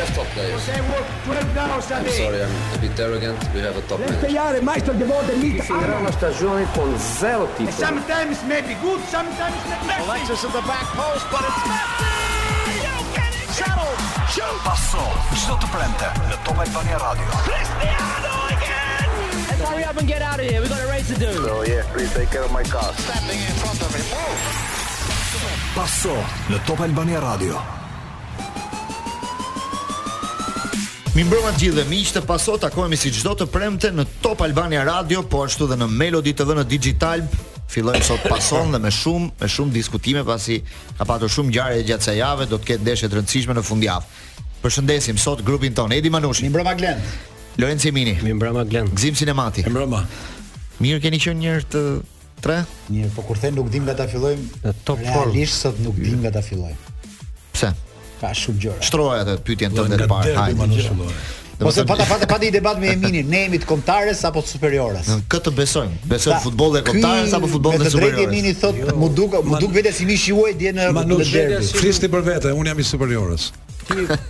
have top players. They work 12 hours a I'm day. sorry, I'm a bit arrogant. We have a top Let's manager. pejare, majstor, devote, mit, Finirà una stagione con zero titoli. Sometimes maybe good, sometimes maybe bad. Alexis at the back post, but it's Messi! Settled! Shoot! Passo çdo të premte në Top Albania Radio. Cristiano again! Let's hurry up and get out of here. We've got a race to do. So yeah, Oh, please take care of my car. Standing in front of him. Oh! Passo në Top Albania Radio. Mi mbrëma të gjithë dhe miq të paso takohemi si çdo të premte në Top Albania Radio, po ashtu edhe në Melody TV në Digital. Fillojmë sot pason dhe me shumë me shumë diskutime pasi ka patur shumë ngjarje gjatë kësaj jave, do të ketë ndeshje të rëndësishme në fundjavë. Përshëndesim sot grupin ton Edi Manushi, Mbrëma Glen. Lorenzo Mini, Mi mbrëma Glen. Gzim Sinemati. Mbrëma. Mirë keni qenë njerë të tre? Mirë, po kur them nuk dim nga ta fillojmë, Në top form. realisht sot nuk dim nga ta fillojmë. Pse? Ka shumë gjëra. Shtroja atë pyetjen tënde të parë. Hajde. Ose Ose pata pata pati debat me Eminin, ne jemi të kombëtares apo të superiores? këtë besojmë. Besojmë futbollin e kombëtarës apo futbollin e Me të drejtë superiores. Emini thot, Jo. mu duk mu duk vetë si mishi juaj dje në në Manush, derbi. flisni për vete, unë jam i superiorës.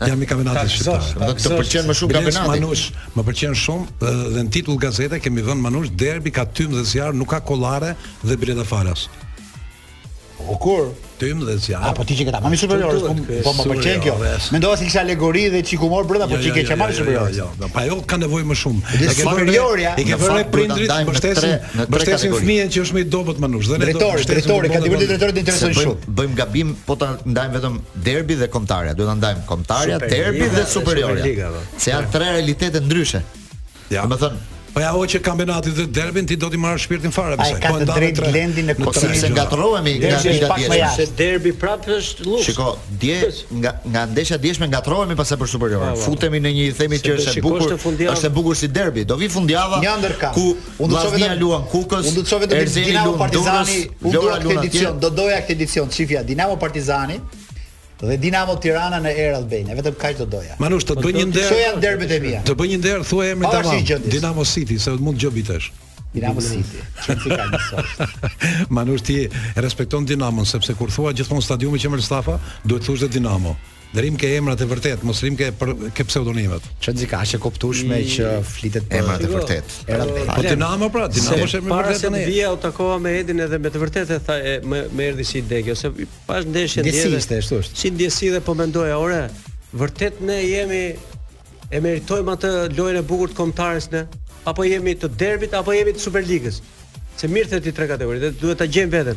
Jam i kampionatit shqiptar. Do të pëlqen më shumë Biles kampionati. Manush, më pëlqen shumë dhe, dhe në titull gazete kemi vënë Manush derbi ka tym dhe zjarr, nuk ka kollare dhe bileta falas. O kur? Tym dhe zjarr. A po ti që këta, mami superiores, po po më pëlqen kjo. Superiores. Mendova se kisha alegori dhe çik humor brenda, po çik e ke marrë superiores. Jo, jo, pa ajo ka nevojë më shumë. E Dhe ke vënë re- superiorja, I ke në vënë re fakt, duhet prindrit, ta ndajmë në tre- mbështesin, në tre mbështesin kategori. fëmijën që është më i dobët Manush dhe ne do Drejtori, mbështesim drejtori, ka futbollin divërtit Manush. drejtori të Se interesojnë bëjmë shumë. bëjmë gabim po ta ndajmë vetëm derbi dhe kombëtarja. Duhet ta ndajmë kombëtarja, derbi dhe superiorja. Superliga, po. Se janë tre realitete ndryshe. Ja. Domethënë, Po ja o që kampionatit dhe derbin ti do t'i marrësh shpirtin fare Ai ka të ndave drejtë tre- Glendin në në po tre kuptimin sepse gjëra. ngatrohemi nga Derbi liga është pak më djeshme. jashtë. Se derbi prapë është luks. Shiko, dje nga nga ndeshja djeshme ngatrohemi pas për superiorën. Futemi në një themi Se që do është e shikosh bukur, të fundjavë. është e bukur si derbi. Do vi fundjava Një ndërka. ku unë do të shoh Vllaznia luan Kukës, Unë do të shoh vetëm Erzeni Dinamo luan Partizani, Durrës, unë Vlora doja këtë luan atje. edicion, do doja këtë edicion, çifja Dinamo Partizani dhe Dinamo Tirana në Air Albania, vetëm kaq Po, do doja. Manush, të të bëj një nder. Kto janë derbet e mia? Të bëj një nder, thuaj emrin Pavarësisht tamam. gjendjes. Dinamo City, se mund gjobitesh. Dinamo City. Çfarë si ka mësuar? Manush ti e respekton Dinamon sepse kur thua gjithmonë stadiumi që merr Stafa, duhet thosh dhe Dinamo. Dërim ke emrat e vërtet, mos rim ke për, ke pseudonimet. Çfarë ka që kuptueshme që flitet për Emrat e vërtet. Air Albania. Po Dinamo pra, Dinamo është Se emri i para vërtet se të tani. vija u takova me Edin edhe me të vërtetë tha e, më më erdhi si ide kjo se pas ndeshje Ndjesi ndjeve. ishte, ashtu është. Si ndjesi dhe po mendoja, ore, vërtet ne jemi e meritojmë atë lojën e bukur të kombëtarës ne apo jemi të derbit apo jemi të Superligës. Se mirë the ti tre kategoritë, dhe duhet ta gjejmë veten.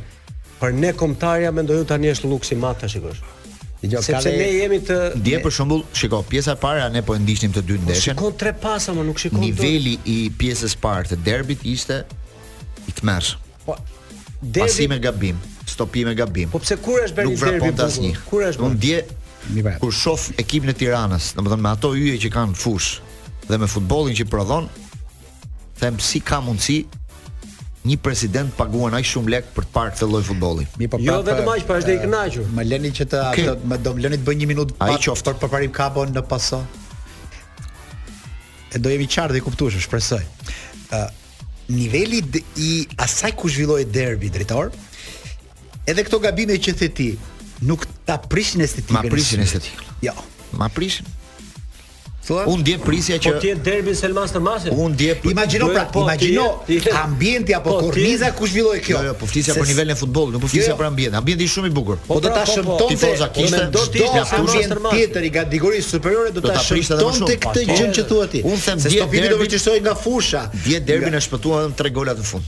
Për ne kombëtarja mendoj unë tani është luksi mat ta shikosh. Dgjoj, ka Sepse dhe- ne jemi të Dje për shembull, shiko, pjesa e parë ne po e ndiqnim të dy ndeshjen. Shikon tre pasa, më nuk shikon. dot. Niveli i pjesës parë të derbit ishte i tmerrshëm. Po, derbi- Pasime gabim, stopime gabim. Po pse kur është bërë nuk një derbi i vrapon të asnjë. bukur? Kur është? Unë bërë? dje Mi pa. kur shoh ekipin e Tiranës, domethënë me ato yje që kanë në fush dhe me futbollin që prodhon, them si ka mundësi një president paguan aq shumë lek për të parë këtë lloj futbolli. Mi po Jo, prapë, vetëm aq, po është dhe i kënaqur. Më lëni që të Okej. të- më do më lëni të bëj një minutë Ai pa- qoftë. për përparim kapon në paso. E do jemi qartë dhe i kuptueshëm, shpresoj. Ë niveli d- i asaj ku zhvillohet derbi drejtor, edhe këto gabime që the ti, nuk ta prishin estetikën. Ma e prishin syrit. estetikën. Jo. Ma prishin. Thua? Unë dje prisja Po ti që je derbi Selmas të Masit? unë dje Imagjino Do- pra, po, imagjino ti je- ti je- ambienti apo Po, ti je- korniza ku zhvillohet kjo. Jo, jo, po flisja Se për s- nivelin e futbollit, nuk po flisja Jo, jo. për ambientin. Ambienti është shumë i bukur. Po do ta po, po. shëmtonte Tifoza kishte, do do të të ishte ishte ambient mastermind. tjetër i kategorisë superiore do Do ta ta prishte edhe më shëmtonte shumë. këtë Po, gjë që thua ti. unë them se dje stopimi do derbi- vërtetësoj nga fusha. Dje derbin e shpëtuan vetëm 3 gola të fund.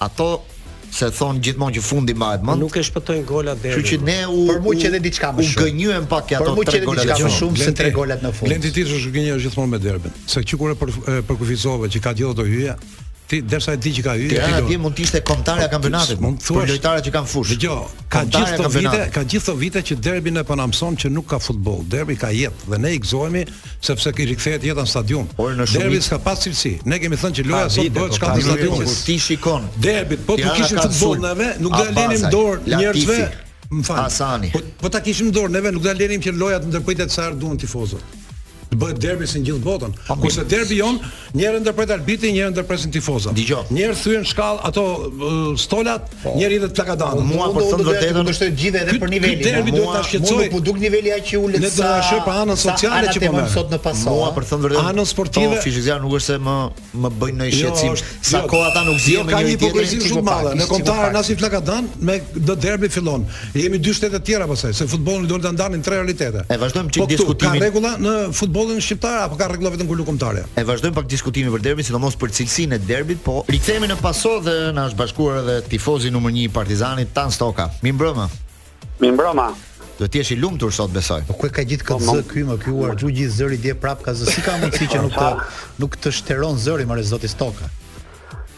Ato se thon gjithmonë që fundi mbahet mend. Nuk e shpëtojnë gola Kështu derbi. që ne u Për mua u- që edhe diçka më U shumë. gënjyem pak ja Për ato mua që 3 edhe gola diçka të më fund. shumë se Glenti- tre golat në fund. Glenti Titish është gënjë gjithmonë me derbin. Se që kur e për, e përkufizove që ka gjithë ato hyje, ti derisa e di që ka hyje, Tirana do- dje mund të ishte kombëtarja e kampionatit. Mund Për thuash- lojtarët që kanë fushë. Dgjoj, ka Kombëtarja gjithë e këto vite, kampionatit. ka gjithë këto vite që derbin e panamson që nuk ka futboll. Derbi ka jetë dhe ne i gëzohemi sepse i rikthehet jeta në stadium. Por në shumicë- Derbi s'ka pas cilësi. Ne kemi thënë që loja sot vite, bëhet po, shka ka në vite, stadium. Kur ti shikon Derbit, po Tirana ku kishim ka futboll sul, neve, nuk do ja lenim Abasaj, dorë Latifi, njerëzve. Më fal. Hasani. Po, po ta kishim dorë neve, nuk do ja lenim që lojat ndërpritet sa herë duan tifozët. të bëhet derbi si në gjithë botën. Kurse derbi jon, njëherë ndërpret arbitri, njëherë ndërpresin tifozat. Dgjoj. Njëherë thyen shkall ato ë, stolat, njëherë hidhet plakadani. Po. Mua për thënë vërtetën, kundërshtoj gjithë edhe Ky- për ky nivelin. derbi ha. duhet ta Mua- shqetësoj. mua nuk Po duk niveli aq i ulët Ne do sa- na shoj pa anën sa sociale që po anatemojmë merr. sot në paso. Mua ha. për thënë vërtetën, Anën sportive- to fizikisht nuk është se më më bëjnë në shqetësim. Sa jo, kohë ata nuk jo, zihen me ka një njëri hipokrizi tjetrin. po shumë të madhe. Në ishte kontare pakt. na si plakadan me do derbi fillon. Jemi dy shtete të tjera pasaj, se futbolli do të ndanin tre realitete. E, vazhdojmë çik Po këtu, diskutimin. Ka rregulla në futbollin shqiptar apo ka rregulla vetëm kur lukumtare? E vazhdojmë pak diskutimin për derbin, sidomos për cilësinë e derbit, po rikthehemi në paso dhe na është bashkuar edhe tifozi numër 1 i Partizanit Tan Stoka. Mirëmbrëma. Mi mbroma. Do të jesh i lumtur sot besoj. Po ku e ka gjithë këtë zë ky më ky u arxhugji zëri dje prap ka zë si ka mundësi që nuk të nuk të shteron zëri më zoti Stoka.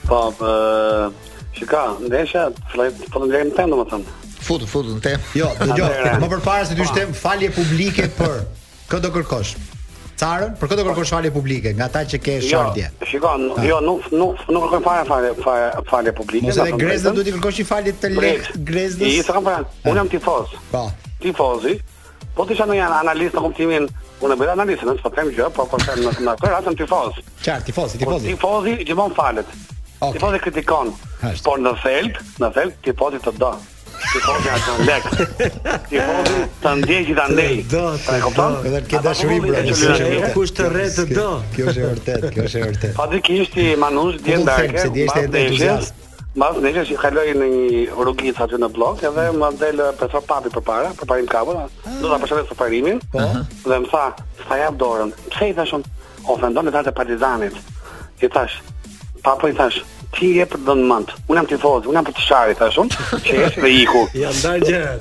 Po, bë, shika, ndeshja, filloj të falënderojmë tënd domethënë. Futu, futu në temë. Jo, dëgjoj, Atëherë. më përpara se ty shtem falje publike për kë do kërkosh. Carën, për kë do kërkosh falje publike nga ata që ke Jo, shortje. shiko, n- Ah. jo, nuk nuk nuk kërkoj fare fare fare, fare publike. Mos edhe Grezda duhet i kërkosh një falje të lehtë I Grezdës. s'e kam parë. Unë jam tifoz. Po. Tifozi. Po të isha në janë analist në kuptimin, unë e bëjt analistën, nësë po them gjë, po po them në në kërë asëm tifoz. Qartë, tifozi, Po tifozi. tifozi gjithmonë falet. Okej. Tifozi kritikon. Ha, është. Por në felt, në felt tifozi të do. Tifozi atë në lek. Tifozi të ndjej që ta ndej. Të do, të E kupton? Edhe ke dashuri pra. Ata populli e mos që e luajnë. vërtet. Kush të rre të do. Kjo është e vërtet, kjo është e vërtet. Pa di ki ishti manush dje Po, po, them, ndarke, se dje ishte mbas edhe entuziast. ndeshjes, mbas ndeshjes që kaloi në një rrugicë aty në blok edhe Mm. më del eh, profesor Papi përpara, përparim kapën, Ah. do ta përshëndes për parimin. Po. Dhe më tha, "Sa jap dorën." Pse i thashun? Ofendon ata të Partizanit. I thash, "Papo i thash, ti je për dënë mend. Unë jam tifoz, unë jam për të shari, thashun, që jesh dhe iku. Ja ndar gjërat.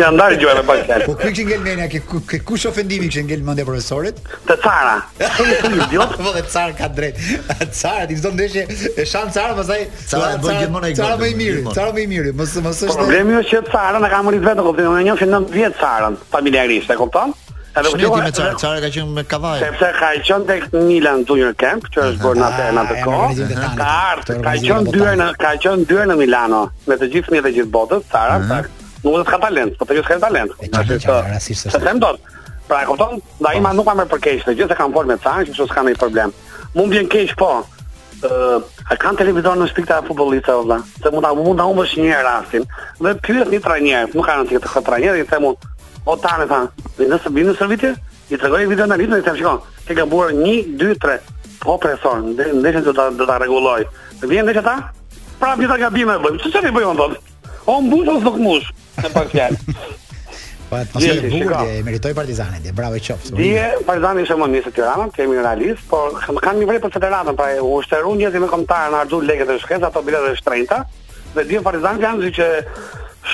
Janë ndarë gjëra me pak fjalë. Po ku kishin ngel mendja ke ku- ke- kush ofendimi kishin ngel mendja profesorit? Të cara. Unë idiot. Po dhe Car ka drejt. Car ti çdo ndeshje e shan Car pastaj Car e bën gjithmonë e Car gëllë, më i miri, gjithmonë. Car më i miri, mos mos është. Problemi është që Carën e kam rrit vetëm, kupton? Unë e njoh që 9 vjet Carën familjarisht, e kupton? Edhe kur Shneti qova- me çare, çare ka qenë me kavaj. sepse ka qenë tek Milan Junior Camp, që është bërë në atë në atë Ah, e kohë. organizim detajit, Ka të ardhur, ka organizim qenë dyer detajit. në ka qenë dyer në Milano me të gjithë fëmijët e gjithë botës, Sara, tak. Nuk është ka talent, po të gjithë ka talent. E qartë, e qartë, rastisht është. Se them dot. Pra e kupton, da ima nuk ka më për keq, të gjithë e kanë folë me Sara, kështu s'ka ndonjë problem. Mu më vjen keq po. Ë, a kanë televizor në shtëpi ta futbollistëve valla? Se mund ta mund ta humbësh një herë rastin. Dhe pyet një trajner, nuk ka rëndësi këtë trajner, i them unë, o tani tha, nëse vinë në shërbitje, i tregoj video analizën, i them shikon, ke gabuar 1 2 3. Po profesor, nde- ndeshën do ta do ta rregulloj. Vjen ndeshja ta? Prapë gjitha gabime e bëjmë. Çfarë i bëjmë thotë? O mbush ose nuk mbush? Në pak fjalë. Po atmosferë e Dje, bukur shiko. dje, e meritoi Partizanin dje. Bravo qoftë. Dije, Partizani ishte më nisë Tirana, kemi realist, por kam- kam një vrej për federatën, pra e ushteru njerëzit me kombëtarën Ardu Lekët e Shkres, ato bileta e shtrenjta, dhe dije Partizani kanë zi që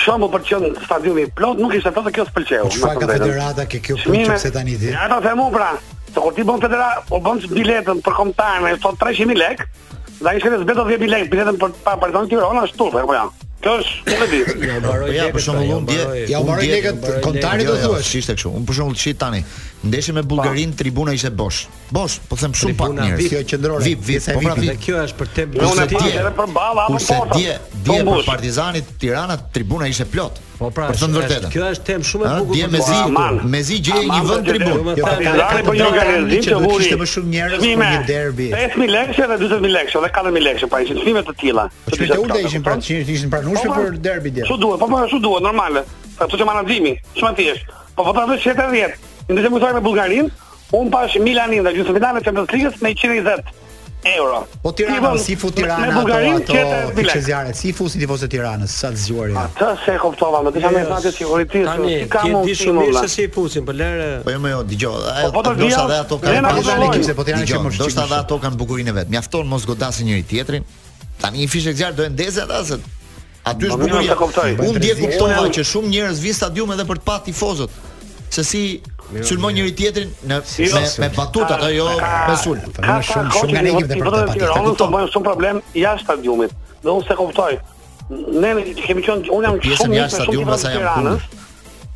shumë për qënë stadiumi i plot, nuk ishte plot dhe kjo s'pëlqeu. me Çfarë thënë ka drejtën. federata ke kjo punë Çmime- çfarë tani ti? Ja ta them unë pra. Se kur ti bën federa, o bën biletën për kombëtarën, ai thon 300.000 lekë, dhe ai shkëndej zbeto 10.000 lekë biletën për pa Partizani Tirana është turp, apo po ja. Kjo është nuk e di. mbaroj Po ja, lekët, për shembull pra, unë dje, mbaroj- Ja u unë mbaroi dje- lekët, mbaroj kontari lekët. do Jo, jo, thuash. Ishte kështu. Unë për shembull shit tani, ndeshje me Bullgarinë, tribuna ishte bosh. Bosh, po them shumë pak Tribuna njerëz. kjo qendrore, Vip, vip, pjesa e po pra VIP-it. Dhe vip. kjo është për te Unë e Kurse pa dje- edhe për balla apo Kurse porta. dje, dje Po për mbush. Partizanit Tirana tribuna ishte plot. Po pra, për të është- vërtetën. Kjo është temë shumë e Ha, bukur. dje për me të zi, Aman. me zi gjej një Aman, vend që- tribun. Jo, Jo, Partizani ka po një drejtë organizim që që do vuri. kishte më shumë njerëz për Fëmime, një derbi. 8.000 lekë edhe 40.000 lekë, edhe 4.000 lekë, pra ishin fëmijë të tilla. Po çfarë ulta ishin pra, që ishin pranueshme Po, po. për derbi dje. Çu duhet, po po çu duhet, normale. Sa çu menaxhimi, shumë e thjesht. Po vota vetë 70. Ndërsa më thonë me Bullgarinë, un pash Milanin dhe gjysmëfinalen e Champions League-s me 120 euro. Po Tirana, Ti bën- si fu me Tirana ato Bullgarinë ato 70 lekë. çeziaret, si fusi tifozë Tiranës, sa të zgjuar janë. Atë se e kuptova, më disha me Yes. fatë sigurisë, Tani, si ka ti e di mundësi shumë mirë olla. se si i pusin, po lërë... Po jo, më jo, dëgjoj. ajo- po, po, ndoshta të dia, edhe ato Lena, kanë po, Tirana Dëgjoj, kishte, po, Tirana kishte mërshqitje. Ndoshta edhe ato kanë bukurinë e vet. Mjafton mos godasin njëri tjetrin. Tani i fishë gjar do e ndezë ata se aty është Po, mirë, bukuria. se kuptoj. Unë dje Brezi- kuptova Unë jam- që shumë njerëz vinë në stadium edhe për të pa tifozët. Se si sulmon njëri tjetrin në me, me batutat, ajo jo me sul. Ka Shumë- shumë shumë shumë nga nga ekipet e ekipet e partizanit, Tiranës. ta Tiranës kuptoj. do bëjnë shumë problem jashtë stadiumit. Dhe unë se kuptoj. Ne kemi qenë unë jam Pjesën shumë jashtë stadiumit, pastaj jam Tiranës.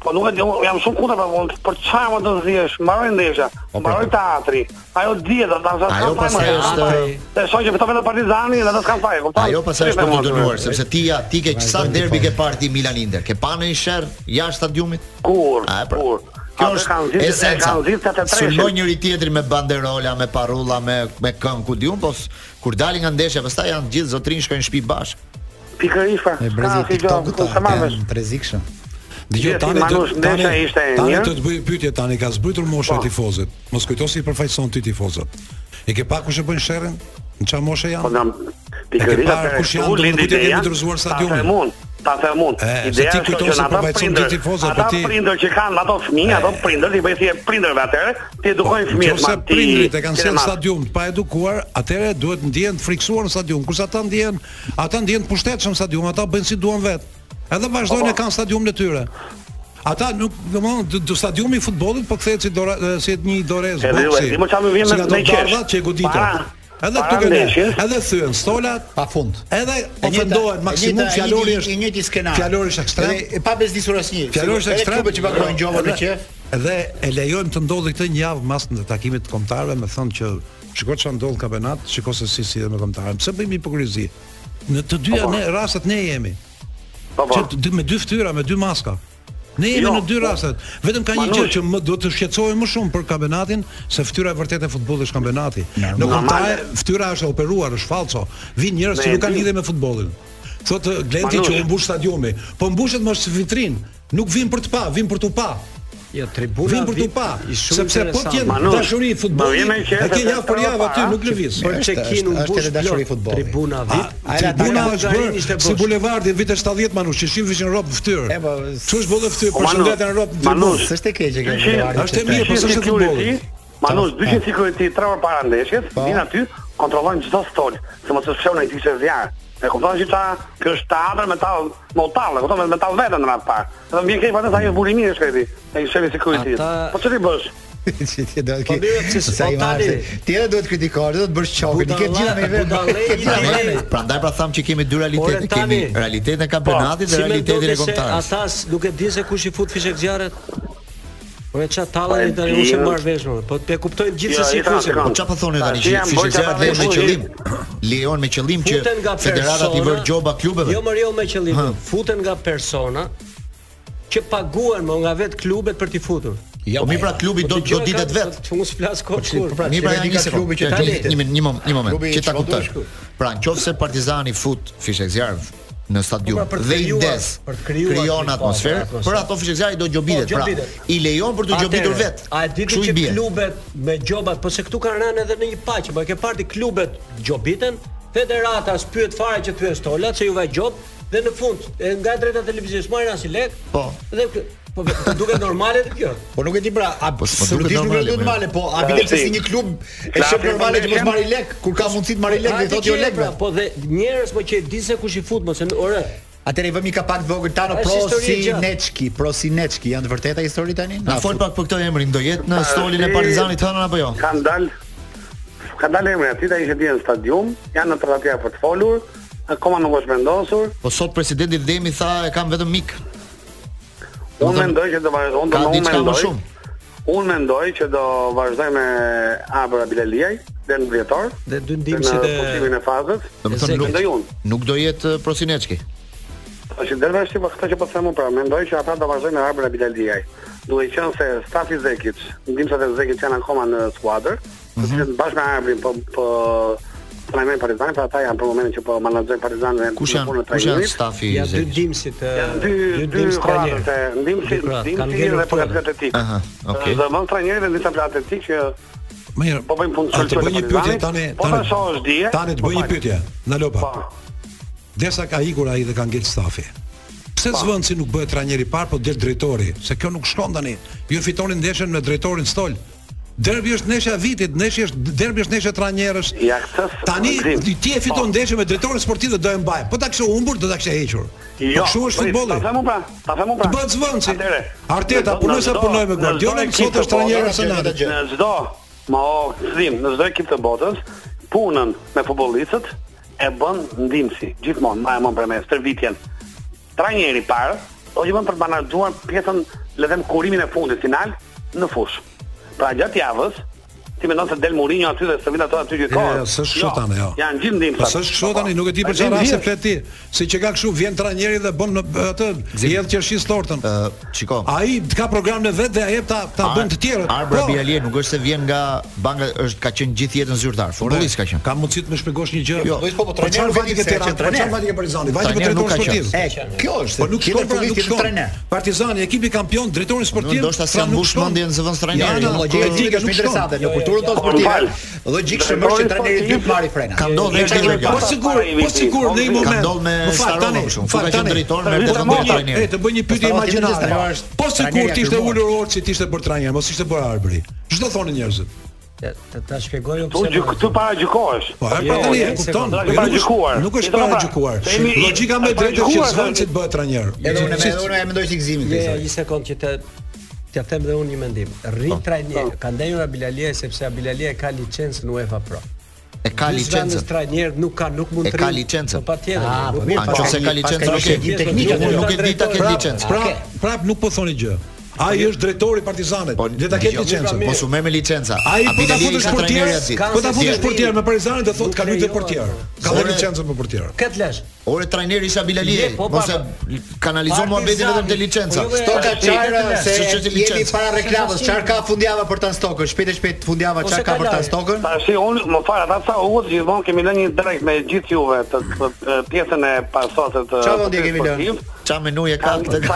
Po nuk e di, unë jam shumë kundër për unë, për çfarë më të zihesh, mbaroi ndeshja, mbaroi teatri. Ajo dihet ata sa Ajo pastaj është- Të shoh që vetëm Partizani dhe ata s'kan fare, kupton? Ajo pasaj është për të Tripet mos, dënuar, sepse ti ja, ti ke sa derbi ke parë ti Milan Inter, ke pa në një sherr jashtë stadiumit? Kur, A, e pra. kur. Kjo Atë kanë është zgjidhur- e esenca. kanë zgjidhur 83-shin. Sulmoj njëri tjetrin me banderola, me parulla, me me këngë ku diun, po s- kur dalin nga ndeshja, pastaj janë gjithë zotrin shkojnë në shtëpi bashkë. Pikërisht pra. E brezi TikTokut ta kanë të rrezikshëm. Dgjoj Gjithë tani do Manush tani Ndesha ishte e tani mirë. do të bëj pyetje tani ka zbritur mosha e Po. tifozit. Mos kujto si i përfaqëson ti tifozat. E ke pa kush e bën sherrin? Në çfarë moshe Po janë? jam E ke pikërisht parë kush janë, do të thotë kemi ndërzuar stadiumin. Ta them unë, ta them unë. E, se Ideja ti është kujton që se ata përfaqëson prindër, ti tifozat, po ata ti- prindër që kanë ato fëmijë, ato prindër i bëj si prindërve atëre, ti edukojnë fëmijët Po, Nëse ma ti. prindrit e kanë ti sjell ma- stadium të pa edukuar, atëherë duhet ndjehen të friksuar në stadium, kurse ata ndjehen, ata ndjehen të pushtetshëm në stadium, ata bëjnë si duan vet. Edhe Po, vazhdojnë e kanë stadiumin e tyre. Ata nuk, domthon, do- do stadiumi i futbollit po kthehet si dora, e, si një dorez Edhe ju e di më çfarë më vjen si me- ato me qesh. dardhat që e goditën. Para- Edhe para këtu kanë, ndeshjes. edhe thyen stolat, Pa fund. edhe Po ofendohen maksimum fjalori është i njëjti skenar. Fjalori është ekstrem. Dhe E pa bezdisur asnjë. Fjalori është ekstrem. Klubet që paguajnë gjobën në Dhe- qef. Dhe e lejojmë të ndodhi këtë një javë mas në takimit të kombëtarëve, me thënë që shiko çfarë ndodh në kampionat, shiko se si si me kombëtarën. Pse bëjmë hipokrizi? Në të dyja Po, po. ne rastet ne jemi. Po po. Që të- dy- me dy fytyra, me dy maska. Ne jemi Jo, në dy po. rastet. Vetëm ka një gjë Manush. që më do të shqetësohem më shumë për kampionatin se fytyra e vërtetë e futbollit është kampionati. Në kontare fytyra është e operuar, është falso. Vin njerëz që Me nuk kanë dy. lidhje me futbollin. Thotë Glenti që Manush. u mbush stadiumi, po mbushet më së vitrinë. Nuk vin për të pa, vin për t'u pa. Jo, tribuna Vin për t'u vi- pa, i shumë sepse po interesant. t'jen Manush, dashuri i ma vjen me futbollit. qenë E ke se javë për të javë trapa, aty a? nuk lëviz. Po Për Është- çekin është- u është mbush edhe dashuri plot. i futbollit. Tribuna A- VIP. a era Tribuna Tirana është Gagarin ishte bërë si bosh. bulevardi në vitet 70 manush, që shifishin rob në fytyrë. E, po, Çu është bollë fytyrë, O, për Manush, shëndetin rob në tribun. Manush, S'është e keqe kjo. Dyqin- Është e mirë, po s'është e Dyqin security, futbollit. Manush, dyqin security 3 orë para ndeshjes, Po. vin aty, kontrollojnë çdo stol, se mos të fshon ai dikë zjarr. E kupton që ta, kjo është teatr me ta me utall, e kupton me ta veten në atë parë. Edhe më vjen keq vetë sa ajo burimi është këti. Ai shefi security. Ata- Po ç'ti bësh? Që ti do Po mirë, pse Sa i spontani. marrë. se Ti edhe duhet kritikosh, edhe do të bësh çokën. Ti ke gjithë me vetë. budallë, Ke gjitha me budallë. vetë. Prandaj pra thamë që kemi dy realitete, Ore, kemi tani- Po, realitetin e kampionatit dhe Si realitetin mendoni e se kombëtarës. Ata s- nuk e din se kush i fut fishek zjarret. Po e ça Po e tallën tani unë din. e marr vesh më. Po e kuptojnë gjithë se Jo, si i tha, fusin. s'kam. Po çfarë po thoni tani Ta, që që janë fishek bërë zjarri qatë lejon me me qëllim? Lejon me qëllim që Futen nga federata i persona. vër gjoba klubeve. Jo, më jo me qëllim. Ha. Futen nga persona që paguhen më nga vet klubet për t'i futur. Po mi pra klubi do do ditet vet. Që unë s'flas kot Po, kur. po, pra, Mi pra që një ka sekond, klubi që që- ta një- litet. Një min- një mom- një moment, Klubi që ta që kuptoj. do shku. Pra, nëse Partizani fut fishek zjarr në stadium Po, pra, për të dhe i krijuar- des, për të krijuar krijon atmosferë, atmosferë, atmosferë. për ato fishek zjarri do gjobitet. Po, Pra, gjobitet. i lejon për të gjobitur Atëre, vet. A e Kështu diti i që bie. klubet me gjobat, po se këtu kanë rënë edhe në një paqe, po e ke parë ti klubet gjobiten, federata s'pyet fare që pyet stolat se juve gjob dhe në fund e nga e drejta e televiziosë marrin as i lek. Po. Dhe kë- po ve- të duket normale të kjo. Po nuk e di pra, a Po, s'po duket sigurisht nuk normale, e duhet po, jo. normale, po a bile pse si- si një klub e Ka shef si normale që mos foundation? marrë lek kur ka mundësi të marrë lek A, dhe ti thotë jo qe, lek. pra, Po dhe njerëz më që e din se kush i fut, mos e ore. Atëre i vëmë një kapak të vogël tano Është pro histori e si gjatë. Neçki, pro si Neçki, janë të vërteta histori tani? Na fol pak për këtë emrin, do jetë në stolin e Partizanit hënën apo jo? Kan dal Ka dalë emri aty, ta ishte dje në stadium, janë në tërratia për të folur, akoma nuk është vendosur. Po sot presidenti Demi tha e kam vetëm mik. Unë Domethënë, mendoj që do vazhdoj, unë do ka unë diçka më mendoj. shumë. Unë mendoj që do vazhdoj me Abra Bilaliaj deri në dhjetor. Dhe dy ndihmësit Në e- kuptimin e fazës. Do të thonë Mendoj nuk, unë. nuk do jetë uh, Prosinecki. Tash del vesh po këtë që po them unë, pra mendoj që ata do vazhdojnë me Abra Bilaliaj. Duhet qenë se stafi i Zekic, ndihmësat e Zekit janë akoma në skuadër, Mhm. të cilët bashkë me Abrin po po trajnojnë Partizanin, pra ata janë për momentin që po menaxhojnë Partizanin në Kush punën janë e kush janë trajnimit. stafi i Ja dy Zekit? dimësit, e, Janë po. dy dy dimës kroatët e trajnerë. ndihmësi, Dy kroatë, kanë ndihmësi ngelur dhe po fort. përgatitjet e tij. Aha, okay. Dhe më trajneri dhe disa platë etik që Mirë. Po bëjmë punë a të çolçole bëj një të pyetje Partizanit? tani, Po, tani. tash është dje, Tani të po bëj një fal. pyetje. Na lopa. po. Dersa ka ikur ai dhe ka ngel stafi. Pse Po. zvon si nuk bëhet trajneri i parë, po del drejtori, se kjo nuk shkon tani. Ju e fitoni ndeshjen me drejtorin stol. Derbi është ndeshja e vitit, ndeshja është derbi është ndeshja e trajnerësh. Ja, këtë s- Tani Gzim. ti- ti e fiton Po. ndeshjen me drejtorin sportiv dhe do e mbaj. Po ta kishe humbur, do ta kishe hequr. Jo. Po kështu është prit, futbolli. Ta them unë pra, ta them unë pra. Të bëhet zvënë, si. Atëre. Arteta, Në- punoj sa në punoj me çdo- Guardiola, në çdo sot ekip është të botës, trajneri Arsenal. Në çdo, ma o, zim, në çdo ekip të botës, punën me futbollistët e bën ndihmësi. Gjithmonë, ma e mën për me stërvitjen. Trajneri i parë, o që bën për të banalizuar pjesën, le të them kurimin e fundit final në fushë. Pra gjatë javës, ti mendon se del Mourinho aty dhe sëvin ato aty gjykon. Jo, s'është kështu tani, jo. Janë gjithë ndihmë. Po s'është kështu tani, nuk e di për çfarë raste flet ti. Si që ka kështu vjen trajneri dhe bën në- atë jedh qershin tortën. Ë, shiko. Ai ka programin e vet dhe ai jep ta ta bën të tjerët. Arbra Po, Bialie nuk është se vjen nga banka, është ka qenë gjithë jetën zyrtar. Futbollist ka qenë. Ka po, mundësi të më shpjegosh një gjë? Jo. po po trajneri vjen ke Tiranë, po çfarë vjen ke Partizani? Vajti për Trajner nuk drejtorin ka sportiv. qenë. Kjo është. Po nuk tjetër shkon pra, futbollist, nuk tjetër shkon. trajner. Partizani, ekipi kampion, drejtori sportiv. Ndoshta pra, s'ka nuk mbush shkon. mendjen zëvon Ja, trajneri. ja, nuk- Logjika logjika jo, është më interesante në kulturën tonë sportive. Logjikshëm është që trajneri i dytë marri frena. Ka ndodhur Ishte këtë gjë. një kjo. Po sigur, po sigur në një Ka moment. ndodhur me Më fal Starovo tani, për shembull. më fal Ka qenë tani. drejtor, Tani, merrte tani, ndonjë tani, trajner. E të bëj një pyetje Starovo tjetër imagjinare. Starovo është Po sigur trajneri ti ishte afirmuar. ulur Orçi, ti ishte bërë trajner, mos ishte bërë arbri. Ç'do thonë njerëzit? Ta, ta, ta shpjegoj unë Tu gjy këtu para gjykohesh. Po, e pra tani, e kupton. sekondë, nuk para është- gjykuar. Nuk është Ti do para pra- gjykuar. se jemi- Logjika më e para drejtë është që gjykuar, s'von tani. si të bëhet trajner. Edhe unë Si- me- unë e mendoj si gëzimin Je, kësaj. një sekond që të t'ja them dhe unë një mendim. Rrit trajner, ka ndenjur Abilalia sepse Abilalia ka licencën UEFA Pro. E ka licencën. trajner nuk ka nuk mund E të ka rrinë. licencën. Po patjetër. Ah, po nuk- mirë, A pas nëse ka ka një- licencë, pas ka nuk e një di shëgjim teknike, teknikën, unë unë nuk e di ta ketë Prap, licencë. prap, Pra, prap nuk po thoni gjë. Ai është drejtori i Partizanit. Le ta ketë jo, licencën. Po, Mos u merr me licenca. Ai po ta Abideli futesh ka portier, trajneri aty. ka- po ta futesh Zjerri. portier me Partizanin dhe thotë ka Nuk luajtë lejohet, portier. po. Ka dhënë Zore- licencën për portier. Këtë lesh. Ore trajneri Isa Bilali, Je, po, mos e pa- kanalizon muhabetin vetëm te licenca. Po, jo, Sto ka Ti- çajra se Si që ti jemi licencë. para reklamës, çfarë ka fundjava për tan stokën? Shpejt e shpejt fundjava Ose çfarë ka ka për tan lajë. stokën? Tashi unë më fal ata sa u gjithmonë kemi lënë një drejt me gjithë juve të të- të pjesën e pasosës të Qa vendi e kemi lënë? sportiv. Ça menuje ka Oh, Ka- këtë?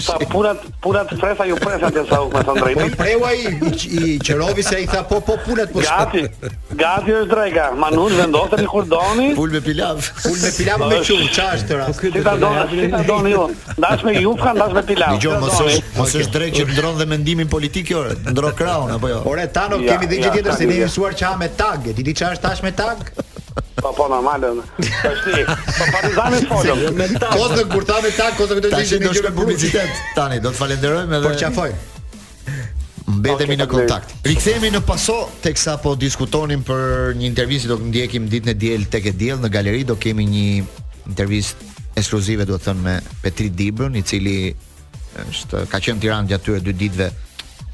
sa- Sa purat purat fresa ju presa të sa u me thon Po i drejtën. preu ai i- i Qerovi se i tha po po punat po. Gati, gati është drejka. Manush vendoseni kur doni. Pul me pilav. Ul me pilavë me qum, ç'a është kjo rast? Si ta doni, si ta doni ju. Ndash me jufka, ndash me pilav. Dgjoj mos është mos është drejt që ndron dhe mendimin politik jo, ndro kraun apo jo. Ore Tano, Ja, kemi dhe gjë ja, tjetër se tani ne jemi ja. mësuar ç'a me tag. E Ti di ç'a është tash me tag? Po po normal. Tashi, po Partizani folëm. Kozë kur tha me tag, kozë këto Tash gjë do shkoj me publicitet. Tani do të falenderojmë edhe Por çafoj. mbetemi Ok, në faleminderit. kontakt. Rikthehemi në paso teksa po diskutonim për një intervistë që do ndjekim ditën e diel tek e diell në galeri do kemi një intervistë ekskluzive do të thënë me Petri Dibrën, i cili është ka qenë në Tiranë gjatë këtyre dy ditëve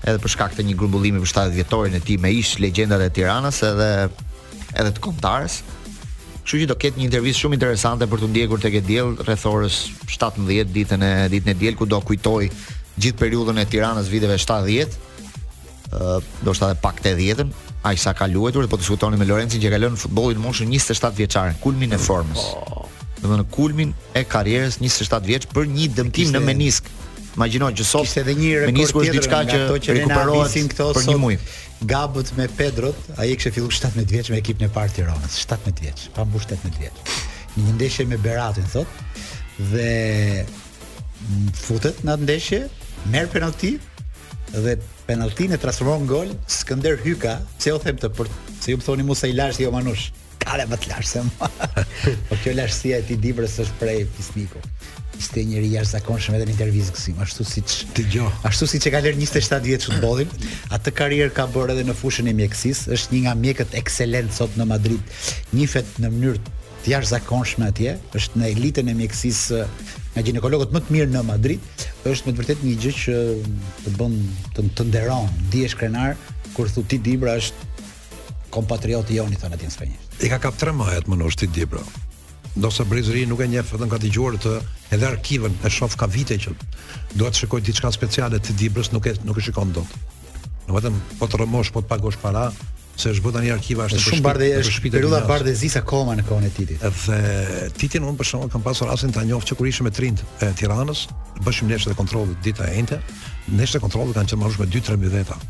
edhe për shkak të një grumbullimi për 70 vjetorin e tij me ish legjendat e Tiranës edhe edhe të kombëtarës. Kështu që do ketë një intervistë shumë interesante për të ndjekur tek e diell rreth orës 17 ditën e ditën e diel ku do kujtoj gjithë periudhën e Tiranës viteve 70 ë do shta edhe pak 80-ën, aq sa ka luajtur, po diskutonin me Lorencin që ka lënë futbollin në moshën 27 vjeçare, kulmin e formës. Domethënë kulmin e karrierës 27 vjeç për një dëmtim Kishte- në menisk. Imagjino që sot Kishte edhe një rekord menisku është tjetër diçka nga që ato që ne na rikuperohet visin këto për një muaj. sot. Gabët me Pedrot, ai kishte filluar 17 vjeç me ekipin e parë Tiranës, 17 vjeç, pa mbush 18 vjeç. Në një ndeshje me Beratin thot dhe m, futet në atë ndeshje, merr penallti dhe penalltin e transformon në gol Skënder Hyka, pse u them të për se ju më thoni Musa i lash jo Manush. Kale më të lash se mua. po kjo lashësia e ti Dibrës është prej Pisniku. Ishte njëri jashtëzakonshëm edhe në intervistë kësim, ashtu siç Dëgjoj. Ashtu siç e ka lënë 27 vjeç futbollin, atë karrierë ka bërë edhe në fushën e mjekësisë, është një nga mjekët ekselent sot në Madrid. Njihet në mënyrë të jashtëzakonshme atje, është në elitën e mjekësisë ë, nga ginekologët më të mirë në Madrid, është me të vërtetë një gjë që të bën të, të nderon, diesh krenar kur thu ti Dibra është kompatrioti joni thonë atje në Spanjë. I ka kap 3 majat më nosh ti di bro. Ndosë brezëri nuk e njeh vetëm ka dëgjuar të edhe arkivën e shoh ka vite që dua të shikoj diçka speciale të Dibrës nuk e nuk e shikon dot. Në vetëm po të rëmosh, po të pagosh para, se është bërë tani arkiva është Shumë bardhë është periudha bardhëzis akoma në kohën e Titit. Dhe Titin unë për shkakun kam pasur rastin ta njoh që kur ishim me trind e Tiranës, bëshim neshë dhe kontrollet dita e njëjtë. Neshë dhe kontrollet kanë qenë marrush me 2-3 mijëdheta.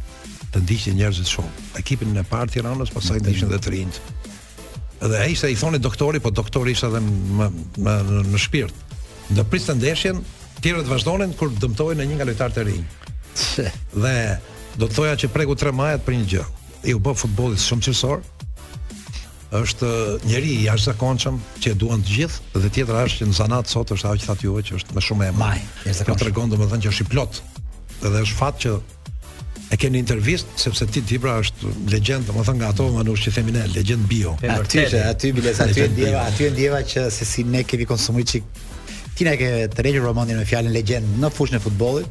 Të ndiqin njerëzit shumë. Ekipin e parë Tiranës, pastaj ndiqin edhe trind. Dhe ai ishte i thoni doktori, po doktori ishte edhe më më në- në shpirt. Në priste ndeshjen, tjerët vazhdonin kur dëmtohen në një nga lojtarët e rinj. Dhe do të thoja që preku 3 majat për një gjë. I u bë futbolli shumë qërsor, është njeri i jashtëzakonshëm që e duan të gjithë dhe tjetra është që në zanat sot është ajo që thatë juve që është më shumë e Maj, Kjo jashtëzakonshëm. tregon domethënë që është i plot. Edhe është fat që e keni intervistë sepse ti Dibra është legjend domethënë nga ato manush që themi ne legjend bio. Aty është, aty biles, aty e Legend ndjeva, bio. aty e ndjeva që se si ne kemi konsumuar çik. Ti na ke tërhequr vëmendjen me fjalën legjend në fushën e futbollit,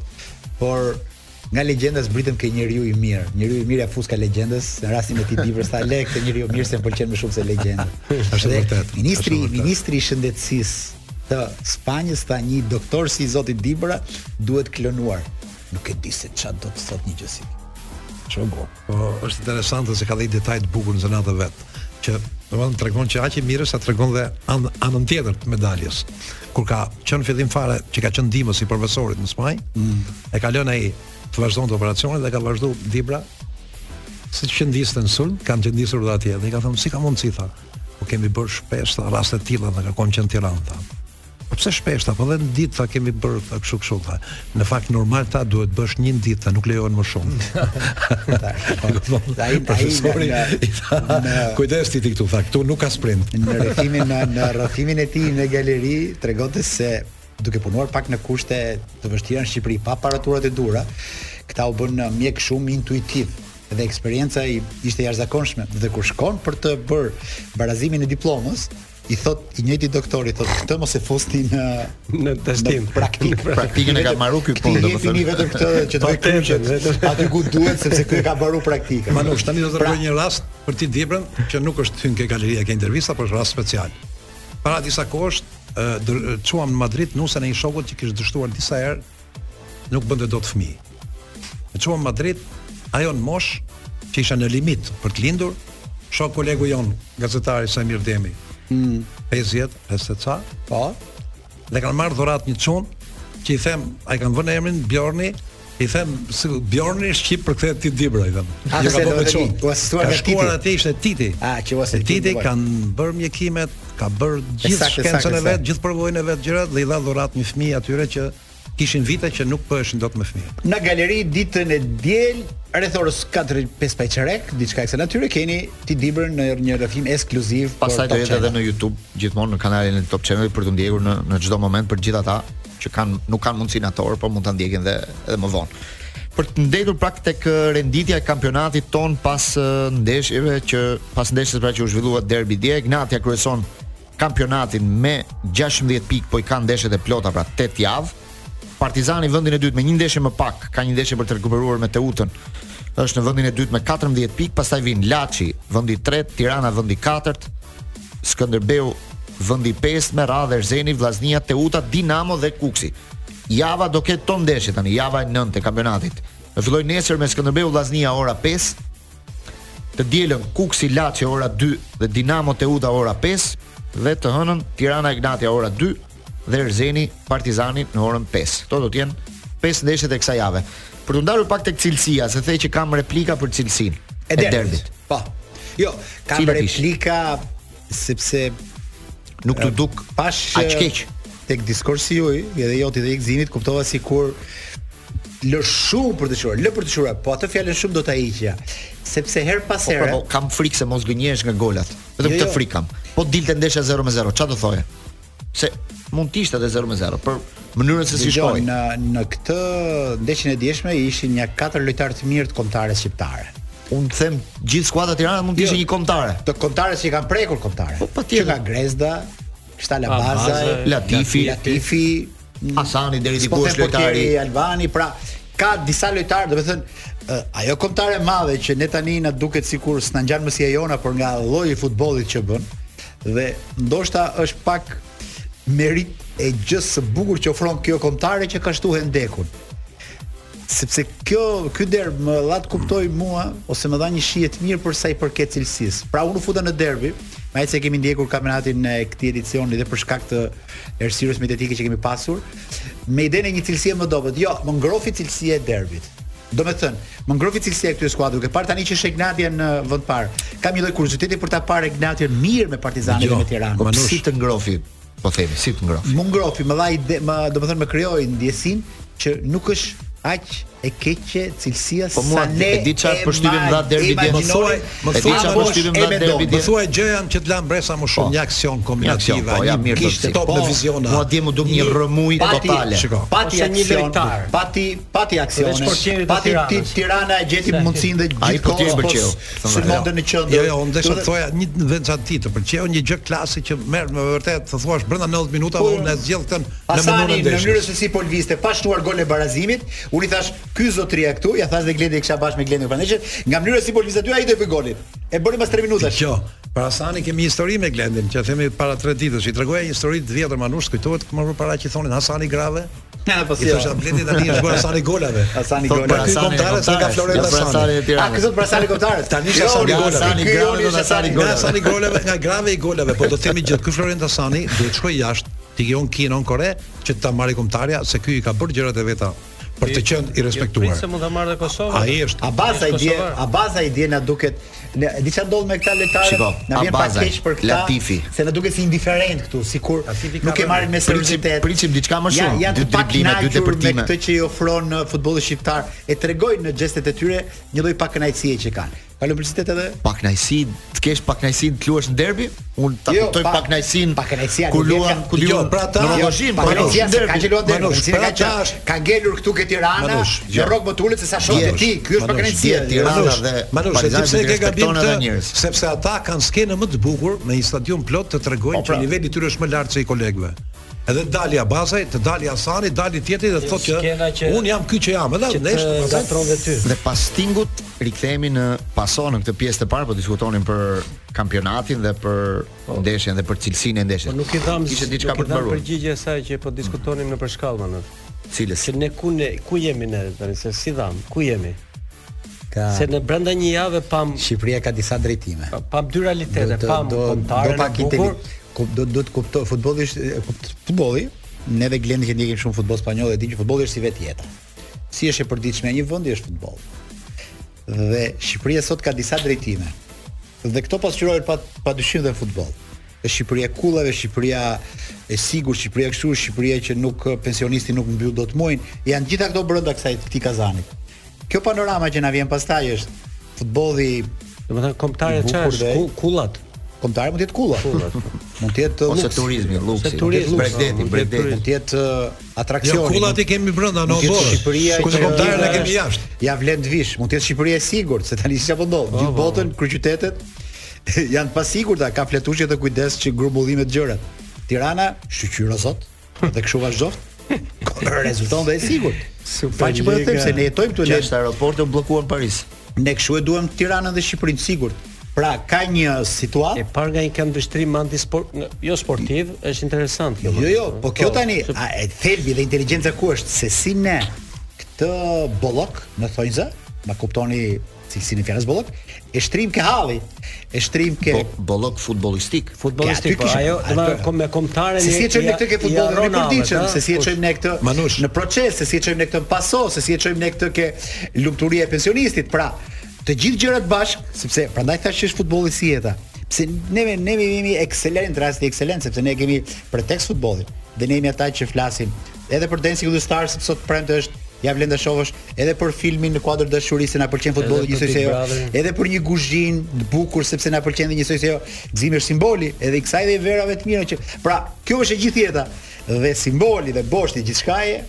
por Nga legjenda zbritëm ke njeriu i mirë. Njeriu i mirë ja fus ka legjendës, në rastin e tij Dibrës tha le këtë njeriu mirë se më pëlqen më shumë se legjenda. Është Dhe vërtet, Ministri, është vërtet. ministri i shëndetësisë të Spanjës tha një doktor si zoti Dibra duhet klonuar. Nuk e di se çfarë do të thotë një gjë si. Shumë bukur. Po është interesante se ka dhe detaj të bukur në zënat e vet, që domethënë tregon që aq i mirë sa tregon dhe an, anën tjetër të medaljes. Kur ka qenë fillim fare që ka qenë ndihmës i profesorit në Spanjë, e ka lënë ai të vazhdonte operacionin dhe ka vazhduar Dibra si që qëndiste në sulm, kanë qëndisur dhe atje, dhe i ka thëmë, si ka mundësi, tha, po kemi bërë shpesh, tha, raste të tilla, dhe ka konë qenë Tiranë, tha. Po pse shpesh, tha, po dhe në ditë, tha, kemi bërë, tha, kështu, kështu, tha. Në fakt, normal, tha, duhet bësh një në ditë, tha, nuk lejohen më shumë. Ai- ai nga- Profesori, nga- i tha, nga- kujdes ti ti këtu, tha, këtu nuk ka sprint. në rrethimin në, në rrethimin e tij në galeri tregonte se duke punuar pak në kushte të vështira në Shqipëri pa aparaturat e dura, këta u bën mjek shumë intuitiv dhe eksperjenca i ishte jashtëzakonshme dhe kur shkon për të bërë barazimin e diplomës i thot i njëjti doktor i thot këtë mos e fusni në Në testim. në praktik Praktikën e ka marru ky punë, domethënë jepini domethënë. vetëm këtë që të bëj Patentën, kryqet vetëm. aty ku duhet sepse ky e ka marru praktikën Manush, tani do të Pra, rregoj një rast për ti Dibrën, që nuk është hyn ke galeria ke intervista, por është rast special. Para disa kohësh, ë, dër- ë, çuam në Madrid nusën e një shokut që kishte dështuar disa herë, nuk bënte dot fëmijë. E çuam në Madrid, ajo në mosh që isha në limit për të lindur, shok kolegu jon, gazetari Samir Demi. 50, 50 ca, Hmm. po dhe kanë marrë dhurat një çun që i them, ai kanë vënë emrin Bjorni, i them si Bjorni është shqip për këtë ti Dibra i them. A, Jo ka pse Ah, do bërë të çun. di, u asistuar Ka nga Titi. shkuar atje ishte Titi. A, që u E asistuar Titi nga- kanë bërë mjekimet, ka bërë gjithë saktë, shkencën saktë, e vet, saktë. gjithë përvojën e vet gjërat dhe i dha dhurat një fëmijë atyre që kishin vite që nuk bëheshin dot me fëmijë. Në galeri ditën e diel rreth orës 4-5 paqerek, diçka e kësaj natyre keni ti dibrën në një rrëfim ekskluziv për Pastaj do Top jetë edhe Channel. në YouTube, gjithmonë në kanalin e Top Channel për të ndjekur në në çdo moment për gjithë ata që kanë nuk kanë mundësinë ator, por mund ta ndjekin dhe edhe më vonë. Për të ndetur prak tek eh, renditja e kampionatit ton pas eh, ndeshjeve që pas ndeshjes pra që u zhvillua derbi dje, Ignatia kryeson kampionatin me 16 pikë, po i kanë ndeshjet e plota pra 8 javë. Partizani vendin e dytë me një ndeshje më pak, ka një ndeshje për të rikuperuar me Teutën. Është në vendin e dytë me 14 pikë, pastaj vin Laçi, vendi i tretë, Tirana vendi i katërt, Skënderbeu vendi i pestë me radhë Erzeni, Vllaznia, Teuta, Dinamo dhe Kuksi. Java do ketë ton ndeshje tani, java e 9 e kampionatit. Do filloj nesër me Skënderbeu Vllaznia ora 5, të dielën Kuksi Laçi ora 2 dhe Dinamo Teuta ora 5 dhe të hënën Tirana Ignatia ora 2 dhe Erzeni Partizani në orën 5. Kto do të jenë 5 ndeshjet e kësaj jave. Për të ndarur pak tek cilësia, se thej që kam replika për cilësinë e derbit. Po. Jo, ka Cilat ishin? replika sepse eh, Nuk të duk pash aq keq. tek diskursi juaj, edhe joti dhe Ikzinit kuptova sikur lë shumë për të shkruar, lë për të shkruar, po atë fjalën shumë do ta hiqja, sepse her pas Po, here po, po, kam frikë se mos gënjesh nga golat. Vetëm Jo, këtë jo. frikë kam. Po dilte ndeshja 0 me 0, çfarë do thoje? Se mund të ishte edhe 0 me 0, për mënyrën se si Dëgjoj, shkoi. Në në këtë ndeshjen e dieshme ishin një katër lojtarë të mirë të kombëtares shqiptare. Unë them gjithë skuadra e Tiranës mund të ishte Jo. një kombëtare. Të kombëtares që i kanë prekur kombëtare. Po, patjetër. Që nga Grezda, Shtala Baza, Baza, Latifi. Ah, Latifi, Hasani deri po diku them është lojtari. portieri Albani, pra ka disa lojtarë, domethënë ë, eh, ajo kombëtare e madhe që ne tani na duket sikur s'na ngjan mësia jona por nga lloji i futbollit që bën dhe ndoshta është pak merit e gjës së bukur që ofron kjo kombëtare që ka shtuhen ndekun. sepse kjo ky derb më dha të kuptoj mua ose më dha një shije të mirë për sa i përket cilësisë. Pra unë u futa në derbi, me ecë se kemi ndjekur kampionatin e këtij edicioni dhe për shkak të errësirës mediatike që kemi pasur, me idenë e një cilësie më dobët. Jo, më ngrofi cilësia e derbit. Do me thënë, më ngrofi cilësia e këtyre skuadrave. Ke parë tani që është Ignatia në vend parë. Kam një lloj kurioziteti për ta parë Ignatian mirë me Partizanin Jo, dhe me Tiranë. Po Manush. si të ngrofi? Po themi, si të ngrofi? Më ngrofi, më dha ide, më domethënë më krijoi ndjesin që nuk është aq e keqe cilësia Po mua, e di çfarë përshtypjen dha derbi dje. Më thuaj, më thuaj çfarë përshtypjen dha derbi Më dje. thuaj gjëjan po që të lan bresa më shumë Po. një Një aksion aksion, kombinativ, po, ja, mirë do të kishte si. top Po, televiziona. Mua dje më duk një rëmuj Pati, totale. Shiko. pati Ose një aksion, lojtar. pati pati Veç Jo, aksione. portierit të Pati ti- Tiranës. Tirana e gjeti mundsinë dhe Ai gjithë portieri pëlqeu, thonë, Sulmonte Jo, në qendër. Jo, jo, unë desha Dhe- të thoja një vend sa ti të pëlqeu një gjë klasi që merr me vërtet, të thuash brenda 90 minutave Po, unë e zgjell këtë në mënyrën Asani e në mënyrën ndeshjes. se si po lviste, pa shtuar gol e barazimit, unë i thash Ky zotria këtu, ja thash dhe Gledi e kisha bashkë me Gledin Prandaj që nga mënyra si polisa ty ai do e bë golin. E bëri pas 3 minutash. Dgjoj, para sani Jo, kemi një histori me Glendin, që themi para 3 ditësh, i tregoja një histori të vjetër manush, kujtohet më më para që thonin Hasani Grave. Ja, po I Jo. thosha Blendi tani është bërë Hasani golave. Hasani Thot golave. për Hasani Hasani se ka Kontare, Florent jo për Hasanin e Hasani. Tiranës. Jo, A këto për Hasani Kotarës. Tani Ky është Hasani joni golave. Hasani Ky Grave joni dhe është Hasani Nga Hasani golave, nga grave i golave, po do të themi gjithë, ky Florent Hasani duhet shkoj jashtë, ti ke on Kinë, on Kore, që ta marrë kombëtarja se ky i ka bërë gjërat e veta për të qenë i Prit se respektuar. mund ta marrë dhe Kosovën. Ai është Abaza Është i dje, Kosovar. Abaza i dje na duket ne di çfarë ndodh me këta lojtarë. Shiko, Na vjen pak Abazaj, keq për këta. Latifi. Se na duket si indiferent këtu, sikur Latifi ka nuk e rënë. marrin me serioziteti. Prisim- prisim diçka më shumë, janë dy të pak driblime, dy kënaqur depërtime. Me këtë që i ofron uh, futbolli shqiptar e tregojnë në gestet e tyre një lloj pakënaqësie që kanë. Ka lojëritet edhe pak knajsi, të kesh pak knajsi të luash në derbi, unë ta Jo, kuptoj pa- pak knajsin. pa knajësia, kur nuk luan, vjen ka- kur Jo, luan pra ta- në Rogozhin, pa po Manush, luan knajësia në se ka derbi. që luan derbi. Manush, Knajësia pra ka që tash- ka ngelur këtu ke Tirana, Manush, në jo. rrok botulet se sa shoh Manush, ti, ky është Manush, pakënaqësia. dje Tirana Manush, dhe Manush, e di Partizani pse nuk ke gabim respekton të edhe njerëz. sepse ata kanë skenën më të bukur me një stadium plot të Po, tregojnë që pra. niveli i tyre është më lart se i kolegëve. Edhe dali Abazaj, të dali Hasani, dali tjetri dhe thotë Jo, skena që që- un jam ky që jam, që edhe të nesh pastaj- gatron dhe ty. Dhe pas stingut rikthehemi në pason në këtë pjesë të parë, po diskutonin për kampionatin dhe për ndeshjen dhe për cilësinë e Po ndeshjes. nuk i dham kishte nuk diçka i për të dham mbaruar. Përgjigje asaj që po diskutonim në përshkallë më në. Cilës? Se ne ku ne ku jemi ne tani se si dham, ku jemi? Ka Se në brenda një jave pam Shqipëria ka disa drejtime. pam dy realitete, Do- do- pam do- kontare do në pak bukur. inteli- kup- do do të kuptoj futbolli është e, kupt- futbolli ne dhe Glendi që ndjekim shumë futboll spanjoll e dimë që futbolli është si vetë jeta. Si është e përditshme e një vendi është futboll. Dhe Shqipëria sot ka disa drejtime. Dhe këto pasqyrohen pa padyshim dhe në futboll. Dhe Shqipëria e kullave, Shqipëria e sigurt, Shqipëria kështu, Shqipëria që nuk pensionisti nuk mbyll dot muajin, janë gjitha këto brenda kësaj këtij kazanit. Kjo panorama që na vjen pastaj është futbolli Domethënë kombëtare I bukur çfarë është? dhe- Ku, kullat. Kombëtare Po mund të jetë kulla. Mund të jetë uh, Ose luks. turizmi, luksi, turizmi, bregdeti, po, bregdeti. Mund të jetë uh, Jo, atraksioni. kullat i kemi brenda në obor. Shqipëria ku që- kombëtarën e kemi jashtë. Ja vlen të vish, mund të jetë Shqipëria e sigurt, se tani çfarë po ndodh? Gjithë botën, kryeqytetet janë të pasigurta, ka fletushje të kujdes që grumbullimet gjërat. Tirana, shqyqyro zot, dhe kështu vazhdoft. Rezulton dhe e sigurt. Faqe po e them se ne jetojmë këtu ne Gjashtë aeroporte u bllokuan Paris. Po, ne kështu e duam Tiranën dhe Shqipërinë sigurt. Pra ka një E situatë par nga një këndvështrim antisport, në- jo sportiv, është interesant kjo. Jo, më. jo, po kjo tani, se- a e thelbi dhe inteligjenca ku është se si ne këtë bollok në thonjza, ma kuptoni cilësinë e fjalës bollok, e shtrim ke halli, e shtrim ke Po bollok futbollistik. Ja, futbollistik, aty po kishim- ajo, aty- domethënë kom me kombëtare Se si e çojmë ne këtë ke futbollin në përditshëm, se si e çojmë ne këtë Manush. në proces, se si e çojmë ne këtë në paso, se si e çojmë ne këtë ke lumturia e pensionistit. Pra, të gjithë gjërat bashk, sepse prandaj thash që është futbolli si jeta. Pse neve neve jemi ekselent rasti ekselent, sepse ne kemi pretekst futbollin dhe ne jemi ata që flasim edhe për Dancing with the Stars, sepse sot premte është ja vlen të shohësh edhe për filmin në kuadër dashurisë se na pëlqen futbolli Edhe për njësoj se Big jo, Brotherin. edhe për një kuzhinë të bukur sepse na pëlqen dhe njësoj se jo, gëzimi është simboli, edhe i kësaj dhe i verave të mira që pra, kjo është e gjithë jeta dhe simboli dhe boshti gjithçka e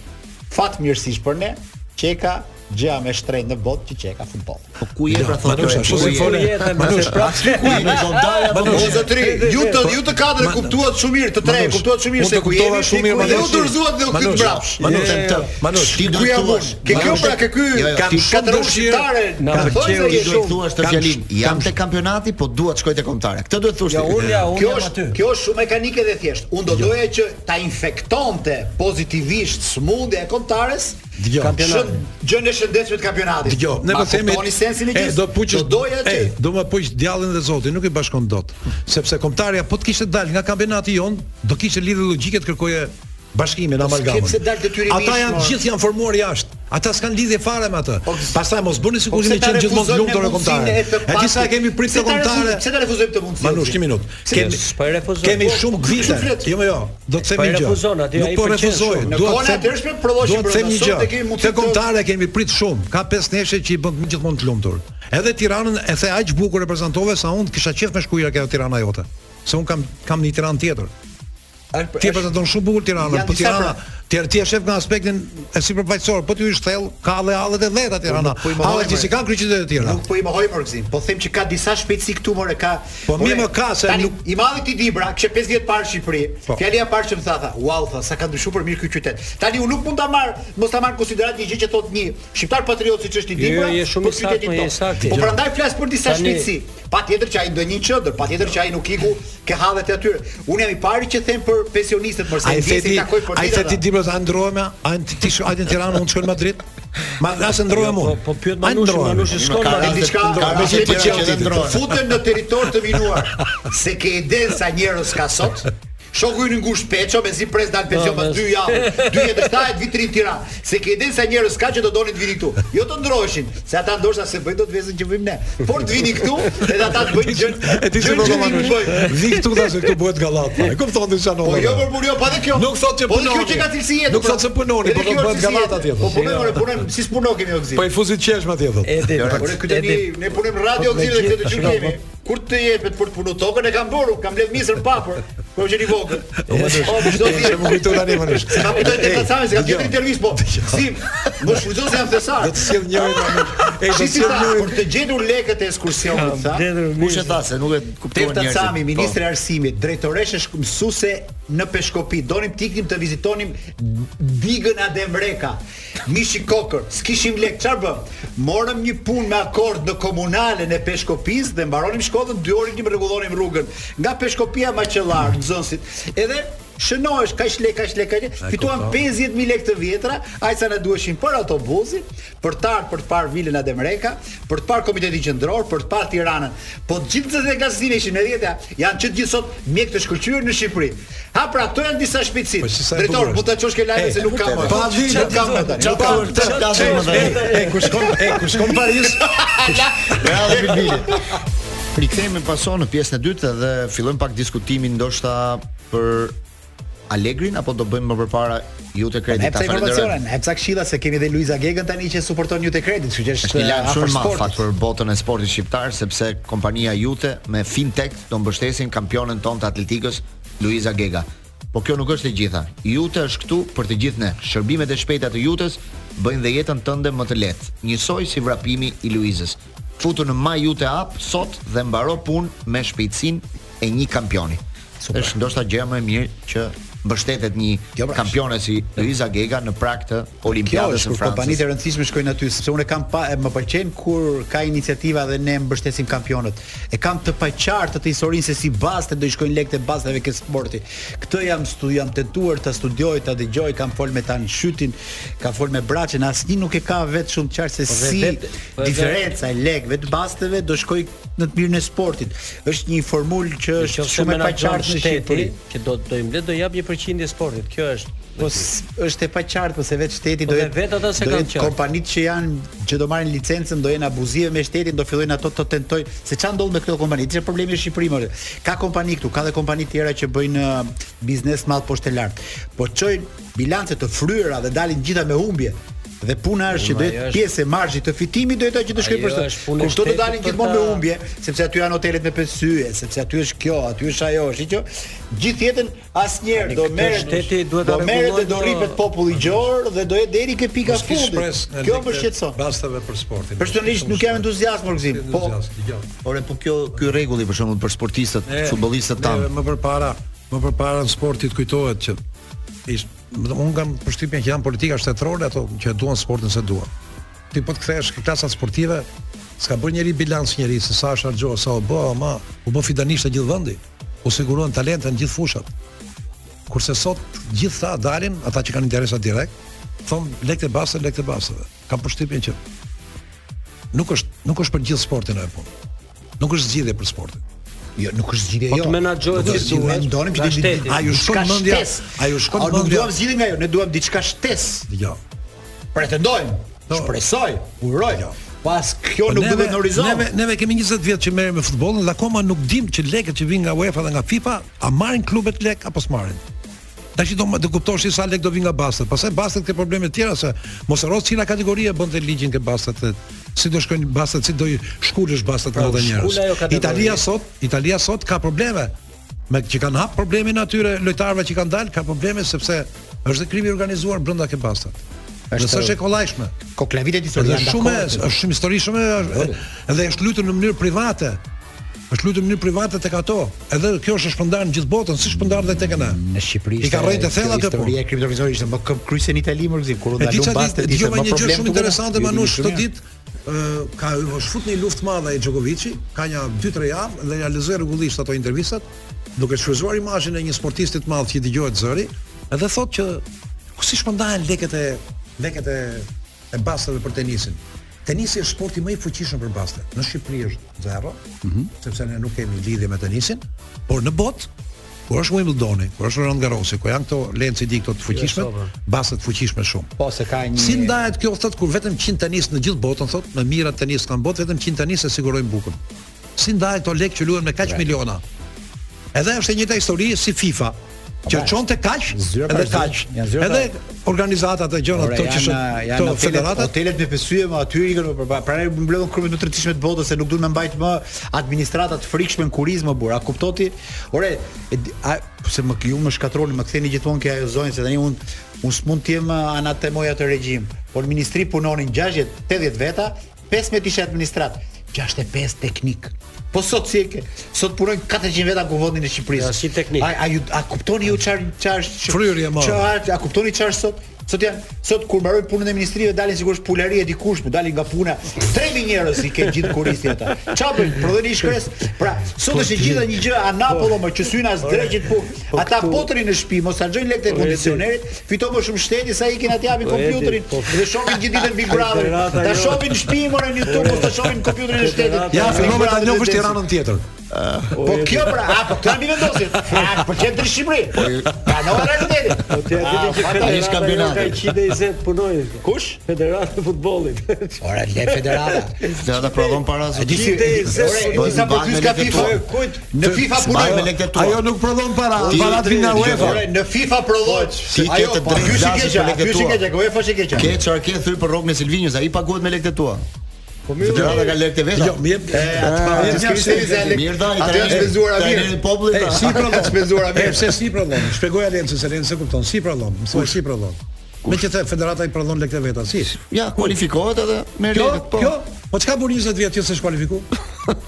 fatmirësisht për ne që e ka gjëja me shtrenjtë në botë që që e ka futboll. Po ku je pra thotë? kjo Manush, e? ashtu Ku si je? fole. jetën, nëse Manush, prapë- ashtu ku jemi kombëtarja po Po zotri, ju të ju të katër Ma- kuptuat shumë mirë, të tre Manush, kuptuat shumë mirë unë se të ku kuptova jemi. shumë mirë, ku jemi. Ju Manush. dorëzuat dhe u kyt Manush, mbrapsh. Manush, Je- të- Manush, ti do ku të jam thuash. unë? Ke kjo Manush, pra ke ky jo, jo, kam ti shumë katër dëshirë, shqiptare. na Kam pëlqeu, thënë se ti je do shumë. thuash të kam fjalin. shumë- Jam kam te kampionati, po dua të shkoj te kombëtare. Këtë duhet thuash. Ja ti. unë ja unë Kjo jam është aty. kjo është shumë mekanike dhe thjesht. Unë Jo. do doja që ta infektonte pozitivisht smundja e kombëtares Dgjoj. kampionatin. Gjën e shëndetshme të kampionatit. Dgjoj, ne po themi Toni sensin e e, gjithë. Do puqësh. Do doja që e, do më puq djallin dhe zotin, nuk i bashkon dot. Sepse kombëtarja po të kishte dalë nga kampionati jon, do kishte lidhje logjike të kërkoje bashkimin amalgamin. s'kepse dalë detyrimisht, Ata janë mor. gjithë janë formuar jashtë. Ata s'kan lidhje fare me atë. Po, s- Pastaj mos bëni Po sikur pse jeni ta qenë gjithmonë të refuzojnë lumtur ne me kombëtare. mundësinë e të E di sa pasit? kemi prit Pse të ta refuzojnë- kombëtare. Pse ta refuzojmë të mundësinë? Manush, një minutë. Pse- Kemi s'po e refuzon. Kemi Po, shumë po, gvite. kush e flet? Jo, jo, do të themi Po e një gjë. refuzon aty, Nuk ai po pëlqen refuzoj. shumë. Në Dua kohën e të them- atërshme prodhoheshin dua të them një brenda, gjë. sot e kemi mundësi Te të- kombëtare kemi prit shumë. Ka pesë neshe që i bën gjithmonë të lumtur. Edhe Tiranën e the aq bukur reprezentove sa unë kisha qef me shkuja kjo Tirana jote. Se un kam kam një Tiranë tjetër. Është- Ti e prezenton shumë bukur Tiranën, Janë po disa Tirana pra- Tjerë ti e shef nga aspektin e sipërfaqësor, po ti u thellë, ka dhe hallet e dhëta Tirana. Po, nuk po i mohoj, Hallet që si bre. kanë kryqëzit e tjera. Nuk po i mohoj për gzim, po them që ka disa shpejtësi këtu more ka. Po, mi More, më ka, se tani, nuk- i madhi ti Dibra, kishte 5 vjet parë në Shqipëri. Po. Fjalia e parë që më tha tha, "Wow, tha, sa ka ndryshuar për mirë ky qytet." Tani unë nuk mund ta marr, mos ta marr në konsiderat një gjë që thot një shqiptar patriot siç është i Jo, Dibra. jo, je shumë për i saktë, qytetin mo, je tonë. saktë. jo. Po prandaj flas për disa Tani- shpejtësi. Patjetër që ai do një çëndër, patjetër që ai nuk iku ke hallet e atyre. Unë jam i pari që them për pensionistët, por se Ai se ndjesin ti, takoj po për ai se ti Dibra sa ndrohem, ai ti ti ai në Tiranë unë shkoj në Madrid. Ma na se ndrohem unë. po A pyet Manushi, ndrohem? Manushi Unë s'ka ka Ka raste- diçka ka ka raste me tjera që pëlqeu dhe ndrohen. Futen në territor të minuar. Se ke iden sa njerëz ka sot. Shoku i ngushtë Peço me si pres dal pension pas 2 javë, 207 vitrin Tiranë. Se ke iden sa njerëz ka që do donin të vinin këtu. Jo të ndroheshin, se ata ndoshta se bëjnë dot vezën që bëjmë ne. Por të vinin këtu, edhe ata të bëjnë gjën. E ti si gjën po që nuk Manushi. bëjnë. Vi këtu tash këtu bëhet gallat. E kupton ti çfarë? Po jo për burion, pa dhe kjo. Nuk thotë që po Po punoni. kjo që ka cilësi jetë. Nuk thotë se punoni, po do bëhet galata tjetër. Po punojmë, ore, punojmë si s'punon kemi ogzi. Po i fuzit qesh ma tjetër. Edi, Ore, ky tani ne punim radio po, me gzim dhe këtë gjithë- dëgjim shiko, kemi. Kur të jetë me të për të punu tokën e kam bërë, kam blet misën papër, kur që i vogël. Po po çdo E, se ditë më kujtu tani Manush. Se kam kujtoj të Ej, kacame, se kam dëgjoj. tjetër intervistë, po. Sim, më shfrytëzon se jam thesar. Do të sjell njërin Manush. E do të Shisi sjell tha, njërin. për të gjetur lekët e ekskursionit, tha. Kush e tha se nuk e kuptuan Tefta njerëzit. Cami, Po. ministri i arsimit, drejtoreshe shk- mësuese në Peshkopi, donim të iknim të vizitonim digën Ademreka, mishi kokër, s'kishim lek, çfarë bëm? Morëm një punë me akord në komunalen e Peshkopis dhe mbaronim Shkodën 2 orë që rregullonim rrugën nga Peshkopia Maqellar, Nxënësit. Edhe shënohesh kaq lek, kaq lek, kaq. lek. Fituam 50000 lekë të vjetra, ai sa na duheshin për autobusin, për të ardhur për të parë vilën Ademreka, për të parë komitetin qendror, për të parë Tiranën. Po të gjithë këto klasizime ishin e dhjeta, janë që të gjithë sot mjek të shkëlqyer në Shqipëri. Ha pra, këto janë disa shpejtësi. Po, si sa e bukur Drejtor, është. mund ta çosh ke lajme E, se nuk kam. po, më. pa vi, Nuk kam më tani. Çfarë Nuk kam ka më. vërtet flasim më tani? E kur shkon, e kur shkon në Paris, Ja, dhe Bilbili. Rikthehemi pason në pjesën e dytë dhe fillojmë pak diskutimin ndoshta për Allegrin apo do bëjmë më përpara ju të E kredit pse informacionin, e pse këshilla se kemi dhe Luiza Gegën tani që suporton Jute Credit, kështu që Është një lajm afër shumë i madh sportit. fakt për botën e sportit shqiptar sepse kompania jute me Fintech do mbështesin kampionen ton të atletikës Luiza Gega. Po kjo nuk është e gjitha. Jute është këtu për të gjithë ne. Shërbimet e shpejta të Jutës bëjnë dhe jetën tënde më të lehtë, njësoj si vrapimi i Luizës. Futu në My Jute App sot dhe mbaro punë me shpejtësinë e një kampioni. Është ndoshta gjëja më e mirë që mbështetet një Jo, pra, Po, kampione si Luiza Gega në prag të Kjo Olimpiadës është së kur kompanitë Francës. e rëndësishme shkojnë aty, sepse unë e kam pa e më pëlqen kur ka iniciativa dhe ne mbështesim kampionët. E kam të paqartë të historinë se si bazë do i shkojnë lekët e bazave ke sporti. Këtë jam stu jam tentuar ta studioj, ta dëgjoj, kam fol me tani Shytin, kam fol me Braçin, asnjë nuk e ka vetë shumë të qartë se si vet- po diferenca e lekëve të bazave do shkojë në të mirën e sportit. Është një formulë që është shumë e paqartë në Shqipëri. që do do i mblet do jap një përqindje sportit. Kjo është. Po s- është e paqartë, po se vetë shteti Po do dhe jetë. vetë ata se do kanë jetë qartë. Kompanitë që janë që do marrin licencën do jenë abuzive me shtetin, do fillojnë ato të tentojnë se çfarë ndodh me këto kompani. Çe problemi është Shqipëri më. Ka kompani këtu, ka dhe kompani tjera që bëjnë ë, biznes madh poshtë lart. Po çojnë bilance të fryera dhe dalin gjitha me humbje. Dhe puna është që do ajo jetë është- pjesë e marzhit të fitimit do jetë ajo që të shkojë Ajo për të. është punë e Kur këto do shtetit dalin për gjithmonë ta- me humbje, sepse aty janë hotelet me pesë syje, sepse aty është kjo, aty është ajo, është kjo. Gjithë jetën asnjëherë Tani do këtë merret shteti duhet ta do merret dhe rregullojë do të- ripet populli gjor dhe do jetë deri ke pika Mos kish fundit. shpresë në Kjo lekë më shqetëson. Bastave për sportin. Personalisht nuk jam entuziast për gzim, po Ore, po kjo ky rregulli për shembull për sportistët, futbollistët tanë. tan. Më përpara, më përpara në sportit kujtohet që ish, më thënë, unë kam përshtypjen që janë politika shtetërore ato që duan sportin se duan. Ti po të kthehesh ke klasat sportive, s'ka bërë njëri bilanc njëri se sa është harxhuar, sa u bë, ama u bë fidanisht e gjithë vendi. U siguruan talente në gjithë fushat. Kurse sot gjithë ta dalin, ata që kanë interesa direkt, thon lekë basë, lekë basëve. Kam përshtypjen që nuk është nuk është për gjithë sportin ajo punë. Nuk është zgjidhje për sportin. jo nuk është zgjidhje Po jo. të menaxhohet Nuk si është zgjidhje, duhet, ne ndonim që nga ti shteti. A ju shkon mendja? A ju shkon mendja? Nuk mendja? duam zgjidhje nga ajo, ne duam diçka shtesë. Jo. Pretendojmë, Jo. shpresoj, uroj. Jo. Pas kjo Po nuk neve- duhet në horizont. Neve neve kemi 20 vjet që merrem me futbollin dhe akoma nuk dim që lekët që vijnë nga UEFA dhe nga FIFA a marrin klubet lek apo s'marrin. Tash i do të kuptosh se sa lek do vi nga bastet. Pastaj bastet ke probleme të tjera se mos harro cila kategoria bën të ligjin ke bastet. e- Si do shkojnë bastet, si do i shkulësh bastet nga ata u shkul ajo njerëz. kategoria. Italia sot, Italia sot ka probleme me që kanë hap problemin atyre lojtarëve që kanë dalë, ka probleme sepse Është krimi i organizuar brenda kebastat. Është- Nëse është e kollajshme. Koklavitet Po Dhe historia është shumë është shumë histori shumë e- dhe është lutur në mënyrë private. Është lutur në mënyrë private tek ato. Edhe kjo është shpërndarë në gjithë botën, si shpërndar dhe tek ne. në Shqipëri. I ka ishte- rrënë të thella kjo kjo punë. Historia e kripto organizuar ishte më këm kryse në Itali më gzim kur u E di ndalun çfarë bastet ishte dëgjova më një gjë problem. jo, shumë tuga. interesante Ju Manush këtë dini shumë mirë. ditë ë, ka është fut një luftë madhe e Djokovici, ka një 2-3 javë dhe ja lexoi rregullisht ato intervistat, duke shfryzuar imazhin e një sportisti të madh që i dëgohet zëri, edhe thotë që ku si shpërndahen lekët e lekët e e bastave për tenisin. Tenisi është sporti më i fuqishëm për bastet. Në Shqipëri është zero, Mhm. sepse ne nuk kemi lidhje me tenisin, por në botë Kur është Wimbledoni, kur është Roland Garrosi, ku janë këto Lenci di këto të fuqishme, bastet fuqishme shumë. Po se ka një Si ndahet kjo thot kur vetëm 100 tenis në gjithë botën thot, me mira tenis kanë botë vetëm 100 tenis e sigurojnë bukën. Si ndahet këto lekë që luhen me kaq miliona? Edhe është e njëjta histori si FIFA, që çon te kaq Zyra edhe vazhdim, kaq. janë zyra Edhe organizatat e gjërat Ora, ato që janë shën- janë këto hotelet, federatat hotelet me pesyje më aty ikën më përpara. Pra ne mbledhëm kryemet më të rëndësishme të botës se nuk duhet më mbajt më administrata të frikshme në kurizëm më burr. A kuptoti? Ore, e di- a, se më ju më shkatroni, më ktheni gjithmonë ke ajo zonjë se tani un un s'mund të jem uh, anatema atë regjim. Por në ministri punonin 60, 80 veta, 15 ishe administrat, 65 teknik. Po sot si e ke? Sot punojnë 400 veta në kuvendin e Shqipërisë. Ja, si teknik. A, a, ju, a kuptoni ju çfarë çfarë çfarë- Fryrje, mo. çfarë a, a kuptoni çfarë sot? Sot janë sot kur mbarojnë punën e ministrive dalin sigurisht pulari e dikush, po dalin nga puna. Tremi njerëz i kanë gjithë kuristi ata. Çfarë bën? Prodhoni shkres. Pra, sot është e gjitha një gjë anapollo më që syna as dreqit punë. Ata potrin në shtëpi, mos harxojnë lekët e kondicionerit, fiton më shumë shteti sa ikin aty japin kompjuterin dhe shohin gjithë ditën Big Brother. Federata Ta jote. shohin në shtëpi more në YouTube, mos ta shohin në kompjuterin e shtetit. ja Big fillove ta Brother njohësh dhe Tiranën tjetër. Po kjo pra, a po këta mi vendosin. A po çem Shqipëri. Ka në realitetin. Po ti e di që fatalisht federata jo kampionati. ka 120 punojnë. Kush? Federata e futbollit. Ora le federata. Dhe ata prodhon para së Di si 120 ore, disa po pyes ka FIFA. Kujt? Në FIFA Mbaj me punoj. lekët tua. Ajo nuk prodhon para, Ti- parat vinë nga ti- UEFA. Ore, në FIFA prodhohet. Ti ke të drejtë ky si dashin për keq, lekët ky si tua. keq, ku e fashi keq. Ke çfarë ke thyr për rrokun e Silvinjës, ai paguhet me lekët e tua. Po mirë. Federata ka lekët e veta. Jo, më jep. Atë skripteri se ale. Mirë dali, Atë janë zbezuar Në mirë. popull. E, si prodhon? Janë zbezuar E, mirë. pse si prodhon? Shpjegoj Alencës, se Alencë e kupton. Si prodhon? Mësoj si prodhon. Me që the federata i prodhon lekët e veta, si? Ja, kualifikohet edhe me Kjo, lekët, po. kjo, po çka bën 20 vjet që s'e shkualifiku?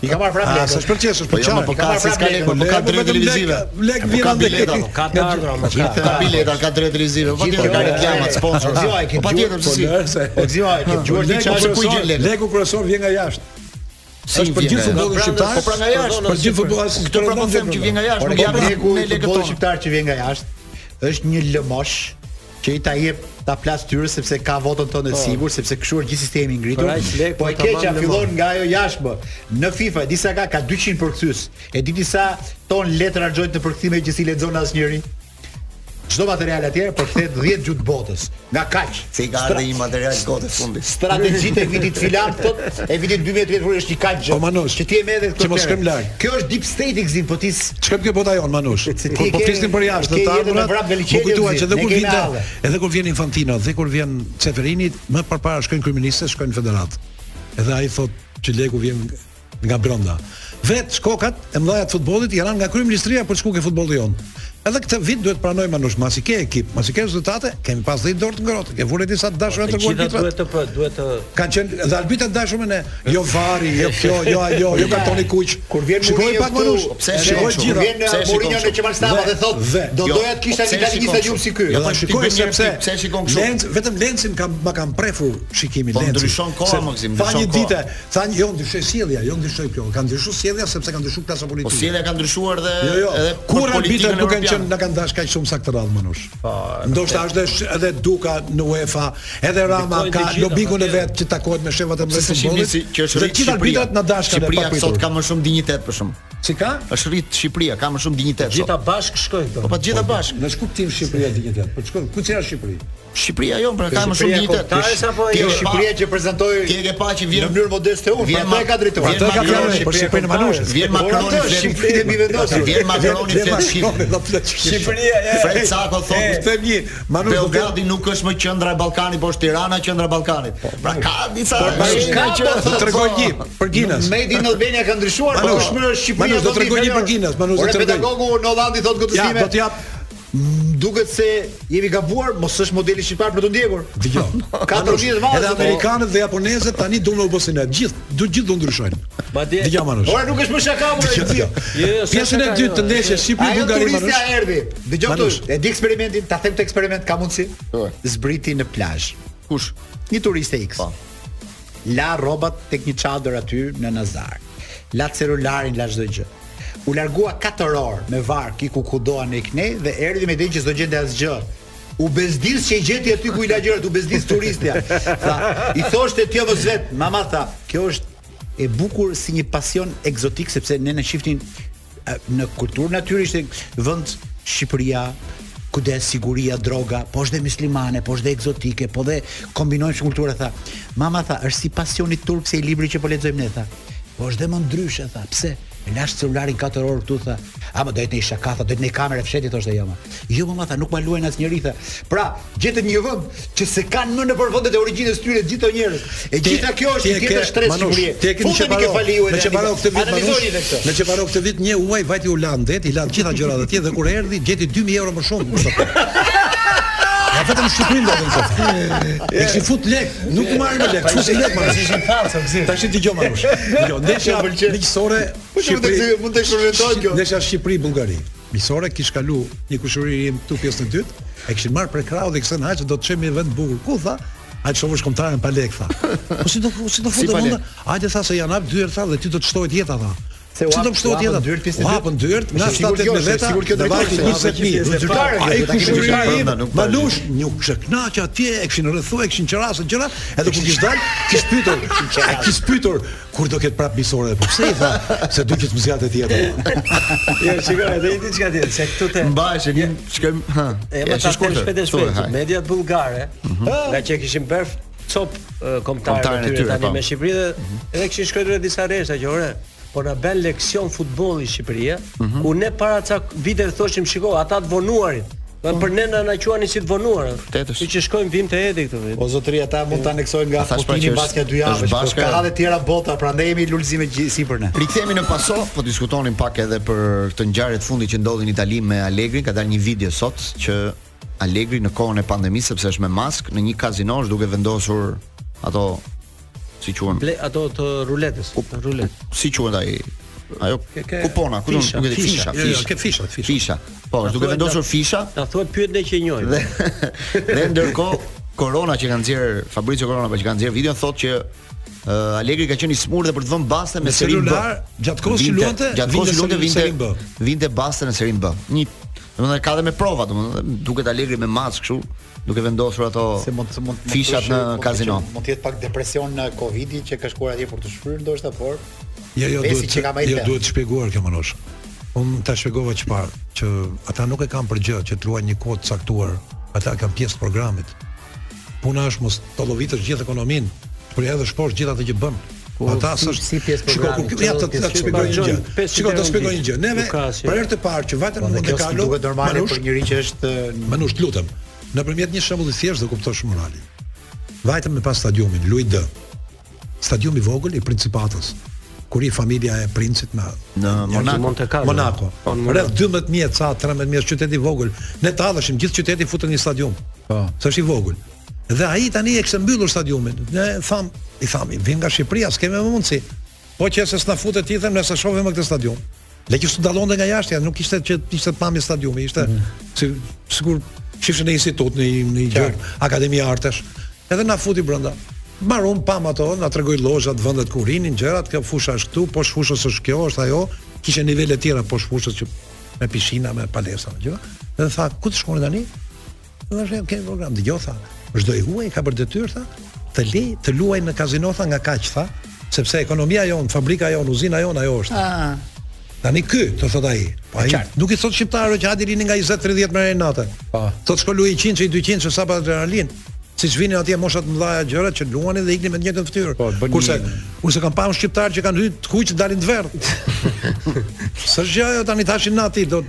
I ka marrë prapë A, sa lekët. shpërqesh, Po jo, më po ka se s'ka lekë, po ka drejt televizive. Lek Po vjen ka ande. bileta, po Ka të ardhur ama Gjithë ka bileta, ka drejt televizive. Po Gjithë tjetër ka kjo- reklamat, sponsor. Po, zjo, e ke Po patjetër gjuar- se si. Po, Oxio, e ke dëgjuar Leku diçka që ku i kryesor- gjen lekët. Leku kryesor vjen nga jashtë. Si Është për vjen gjithë ajo? futbollin Po pra, shqiptar. Po pra nga jashtë. Për gjithë futbollin Këtë pra po them që vjen nga jashtë, Por nuk ka jam me mjeku i lekët futbollit tona. shqiptar që vjen nga jashtë, është një lëmosh që i ta jep ta plas tyre sepse ka votën tonë Po. të sigurt, sepse kështu është gjithë sistemi i ngritur. Pra, aq lek, Po e po, keqja tamam fillon nga ajo jashtë. bë. Në FIFA disa ka ka 200 përkthyes. E di disa ton letra harxojnë të përkthime që si lexon asnjëri. Çdo material atje përkthet 10 gjutë botës. Nga kaq. Se i ka ardhe një material kote fundit. Strategjitë e vitit filan thot e vitit 2013 kur është një kaq gjë. Po, Manush, që ti e merr që mos shkojmë larg. Kjo është deep state i gzim, po ti s- Çka ke bota jon Manush? Se ti Po po ke- flisnim për jashtë ke të jetën e ardhurat. vrap me Po liçeni, kujtuar që edhe ne kur kemi vjen alle. edhe kur vjen Infantino dhe kur vjen Ceferini, më përpara shkojnë kryeministë, shkojnë federat. Edhe ai thotë që leku vjen nga brenda. Vetë shkokat e mëdha të futbollit i ranë nga kryeministria për shkuqe futbolli jon. Edhe këtë vit duhet pranoj Manush, masi ke ekip, masi ke rezultate, kemi pas 10 dorë të ngrohtë. Ke vure disa të dashura të Gjithë golkitrat. Po, duhet të pë- duhet të Kanë qenë edhe arbitrat dashur me ne. Jo vari, jo kjo, jo ajo, jo kartoni kuq. Kur vjen Shikoj Mourinho pak këtu, Manush. pse edhe shikoj kur gjithë? Vjen Pse e shikon Mourinho në kështu? Qemal Stava Dhe- dhe thot, dhe- do doja të kishte pse një shikon italianistë kështu? gjumë si ky. Jo, Po Ti shikoj bën mirë, sepse pse e shikon kështu? Lenz, vetëm Lencin kam ma kam prefur shikimi Po, Lencin. ndryshon koha, Se Maxim, Tha ndryshon një koha. ditë, tha një- jo ndryshoj sjellja, jo ndryshoj kjo. Ka ndryshuar sjellja sepse ka ndryshuar klasa Po politike. sjellja ka ndryshuar dhe Jo, jo. edhe Kur arbitrat nuk kanë europiane. qenë, na kanë dash kaq shumë sa këtë radhë manush. Po, Ndoshta është edhe sh- edhe Duka në UEFA, edhe Rama Ndikojnë të ka gjitha, lobikun e patjetër. vet që takohet me shefat e Se mëdhenj se të shihni futbollit. si që është Dhe rritë gjithë Shqipëria. arbitrat na dash kanë Shqipëria papritur. sot ka më shumë dinjitet për shumë. Si ka? Është rritë Shqipëria, ka më shumë dinjitet gjitha sot. bashk shkojnë këto. Po pa të gjitha bashkë. Në shkuptim Shqipëria dinjitet. Po çkon, ku çfarë Shqipëri? Shqipëria jo, pra ka më shumë Shqipëria dinjitet. kombëtare apo Ti jo? e Shqipëria që prezantoi Ti e ke pa që vjen në mënyrë modeste unë, vjen pra ato e Ma- ka drejtuar. vjen Ato e ka Po, Macroni, fjalën për Shqipëria po Shqipërinë Manushit. Vjen Makroni Por ato flet Shqipërinë e mi vendosur. Vjen Makroni Dhe flet Shqipëria Shqipërinë. do flet Shqipëri. Fred Sako E, thotë them një, Manush do Belgradi nuk është më qendra e Ballkanit, por është Tirana qendra e Ballkanit. Pra ka disa Ka po shenja që të tregoj një për Ginës. Made in Albania ka ndryshuar, po Manush, është më Shqipëria. Manush, do thotë tregoj një inferior. për Guinness, Manush, do Ore tregoj. pedagogu në Hollandi thot Ja, gotësime. do të jap duket se jemi gabuar, mos është modeli shqiptar për të ndjekur. Dgjoj. Katër vjet vallë. Edhe amerikanët dhe japonesët tani duan në Bosnian. Gjithë, du gjithë do ndryshojnë. Madje Dgjoj Manush. Ora nuk është më shaka më e Dgjoj. Jo, jo, s'është Pjesën e ka, dytë të jo. ndeshjes Shqipëri Ajo Bullgari turistja Manush. erdhi. Dëgjoj Manush. këtu. E di eksperimentin, ta them të eksperiment ka mundsi. Po. Zbriti në plazh. Kush? Një turiste X. Po. La rrobat tek një çadër aty në Nazar. La celularin, la çdo gjë. U largua 4 orë me vark i ku kudoa në ikne dhe erdhi me idenë që s'do gjente asgjë. U bezdis që i gjeti aty ku i la gjërat, u bezdis turistja. Tha, i thoshte tjo vës vet, mama tha, kjo është e bukur si një pasion egzotik sepse ne në shiftin e, në kulturë natyrisht e vend Shqipëria, ku dhe siguria, droga, po është dhe muslimane, po është dhe egzotike, po dhe kombinojmë shumë kultura, tha. Mama tha, është si pasioni turk se i libri që po lexojmë ne, tha. Po është dhe më ndryshe, tha. Pse? E Lash celularin 4 orë këtu, tha. A më do të një shaka, tha, do të një kamerë fsheti thoshte joma. Jo, mama tha, nuk ma luajnë asnjëri, tha. Pra, gjetët një vend që se kanë më në përvendet e origjinës tyre gjithë ato njerëz. E gjitha kjo është një tjetër stres sigurie. Ti e keni që ju Në çeparo këtë vit Analizoni dhe Manush. këtë. Në çeparo këtë vit një uaj vajti u lan det, i lan gjitha gjërat atje dhe kur erdhi gjeti 2000 euro më shumë. kushtë ato. Ja vetëm në Shqipëri ndodhen këto. E kishin fut lek, nuk u marrin me lek, fut lek Manush. Ishin falso gzim. Tash dëgjoj Manush. Dëgjoj, ndeshja miqësore Shqipëri. Po mund të eksperimentojnë kjo. Ndeshja Shqipëri-Bullgari. Miqësore kish kalu një kushëri im këtu pjesën e dytë, e kishin marrë për krau dhe kishin haqë do të çemi në vend të bukur. Ku tha? A të shohësh kombëtaren pa lek tha. Po si do si do Si futem pa mund? lek? Hajde tha se janë hap dyert tha dhe ty do të shtohet jeta tha. Se u Si hap- do të shtohet u hapën jeta? dyert pjesë e U dytë? hapën dyert nga Është sigurt 7 kjo, me është veta. sigurt kjo dhe drejtori, vajti se u hapën 20 mijë. pjesë e dytare, Ai kjo, kishin kushëri dyert im, brenda, nuk pa Malush, një shknaqë atje, e kishin rrethuar, e kishin qerasë gjëra, edhe kur kish dal, kish pyetur, a kish pyetur kur do ket prap miqësore dhe po pse i tha se duket më zgjatë tjetër. Jo, shikoj, edhe një diçka tjetër, se këtu te Mbajshë, një shkojmë, ha. E më ta them shpejt e shpejt. Mediat bullgare, Mhm. nga që kishin bërë cop kombëtarë Kombëtarën e aty tyre, tani po. me Shqipëri dhe edhe kishin shkruar disa rresha që ore po na bën leksion futbolli Shqipëria, Mhm. ku ne para ca viteve thoshim shiko ata të vonuarit. Do për ne na na quani si të vonuarët. Vërtetësh. Kështu që shkojmë vim te Edi këtë vit. O zotëri ata mund ta aneksojnë nga thash pra Putini që është- basket dy javësh, është po bashka- ka radhë të tjera bota, prandaj jemi lulëzime sipër ne. Rikthehemi në paso, po diskutonin pak edhe për këtë ngjarje të fundit që ndodhi në Itali me Allegri, ka dalë një video sot që Allegri në kohën e pandemisë sepse është me maskë në një kazino është duke vendosur ato si quhen, Ble ato të ruletës, të rulet. si quhen ai ajo Ke- ke- kupona, ku do fisha, nuk e di, fisha, fisha, jo, jo, ke fisha, fisha. Fisha. Po, është duke thuaj vendosur nga- fisha Na thuhet pyet ne që e njohim. dhe dhe ndërkohë Korona që ka nxjerr Fabrizio Corona pa që ka nxjerr videon thotë që uh, Allegri ka qenë i smur dhe për të vënë baste me Me Serin B. celular, gjatë kohës që Vinte- luante, gjatë kohës që vinte luante Serin- vinte Serin B. vinte baste në Serin B. Një domethënë ka dhe me prova, domethënë duket Allegri me mask kështu, duke vendosur ato Se mund të mund mund të fishat shkruaj- në mund të kazino. shkruaj- Mund të jetë pak depresion në Covidi që ka shkuar atje për të shfryrë ndoshta, por Jo, jo, Besi duhet që ka marrë jo lart. duhet të shpjeguar kjo Manosh. Unë ta shpjegova çfarë, që ata nuk e kanë për gjë që të luajnë një kohë të caktuar, ata kanë pjesë të programit. Puna është mos të lovitësh gjithë ekonominë, por edhe shposh gjithë atë që bën. Po ata si- s'është- Po, si pjesë Shiko, programit, kur- ja çdo të pjesë të shpjegoj një gjë. Bargjojnë pesë Shiko, euro të në shpjegoj një ditë. gjë. Neve Lukas, jo. për herë të parë që vajtën dhe mund kjo të si kalojë. duket jo, normale për njëri që është Manush, të lutem, nëpërmjet një shembulli thjesht do kuptosh moralin. Vajtëm me pas stadiumin Louis D. Stadiumi i vogël i Principatës, kur i familja e princit me Në Monaco. Monte Carlo. Monaco. Po, në Rreth 12000 ca 13000 qyteti i vogël. Ne talleshim gjithë qyteti futën në një stadium. Po. Sa është i vogël. Dhe ai tani e kishte mbyllur stadiumin. Ne tham, i tham, vim nga Shqipëria, s'kemë më mundsi. Po që se s'na futet ti them, ne sa shohim këtë stadium. Le që s'u dallonte nga jashtë, ja, nuk ishte që ishte pamje stadiumi, ishte Mhm. si sigur shifshën në institut në një- në një gjë, Akademi Artesh. Edhe na futi brenda. Mbaron pam ato, na tregoi lozhat, vendet ku rinin, gjërat, kjo fusha është këtu, poshtë fushës është kjo, është ajo, kishte nivele tjera poshtë fushës që me pishina, me palestra, me gjëra. Dhe tha, ku të shkoni tani? Dhe është ke program, dëgjoj tha. Çdo i huaj ka për detyrë tha të lej të luaj në kazino tha nga kaq tha, sepse ekonomia jon, fabrika jon, uzina jon ajo është. Tani ky, të thot ai. Po ai nuk i thot shqiptarëve që hadi lini nga 20 30 merë në natë. Po. Thot shko luaj 100 që i 200 që sa pa adrenalin. Siç vinin atje moshat të mëdha gjëra që luani dhe iknin me të njëjtën fytyrë. Po, bën një- kurse kurse kanë pam shqiptarë që kanë hyrë të kuq dalin të verdh. Së gjë ajo tani tashin nati do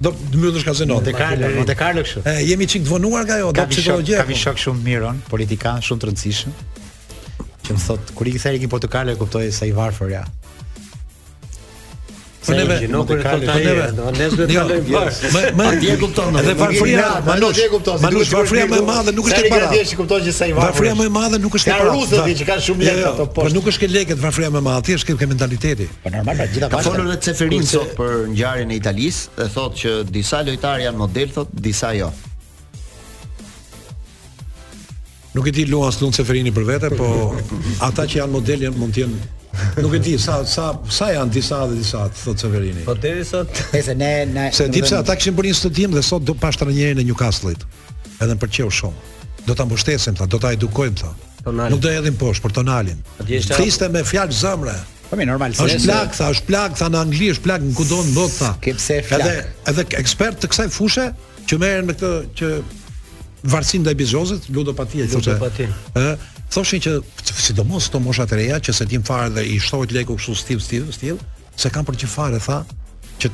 do të mbyllësh kazinon. Monte Carlo, Monte Carlo kështu. E, jemi çik të vonuar nga ajo, do Ka vishok, psikologjia. ka vishok shumë miron, politikan shumë të rëndësishëm. Që më thot, kur i kthej në portokale e kuptoj sa i varfër ja. po neve gjino kur e thot ai, do ne s'do të Jo, kalojmë Më bashkë. më Atje e kupton, do. Edhe Nuk varfëria, i- më atje e kupton, si duhet Manush, të varfëria më shkruaj e madhe nuk është këtu. e para. Sa i gradje që kupton që sa i varfër Varfëria është. më e madhe nuk është e Ka para. rusët va- di që kanë shumë Jo, lekë jo, ato Po poshtë. nuk është ke lekët varfëria më e madhe, thjesht ke ke mentaliteti. Po normal, pra gjitha Ka bashkë- folur edhe Ceferin Kurse- sot për ngjarjen e Italisë dhe thotë që disa lojtarë janë model, thotë disa jo. Nuk e di Luan Slun Seferini për vete, po ata që janë model janë mund të jenë Nuk e di sa sa sa janë disa dhe disa, thot Severini. Po deri sot Nëse ne ne Se di pse domethënë, ata kishin bërë një studim dhe sot do pa trajnerin e Newcastle-it. Edhe më pëlqeu shumë. Do ta mbështesim tha, do ta edukojmë tha. Tonali. Nuk do hedhim poshtë për Tonalin. Atje është- Fliste me fjalë zemre. Po mirë, normal. se- Është plak tha, është plak tha në Angli, është plak në kudo në botë tha. Ke pse flak. Edhe edhe ekspert të kësaj fushë që merren me këtë që varsin ndaj bizozit, ludopatia thoshte. Ludopati. Ë, thoshin që sidomos këto moshat e reja që se tim fare dhe i shtohet leku kështu stil stil stil, se kanë për çfarë tha që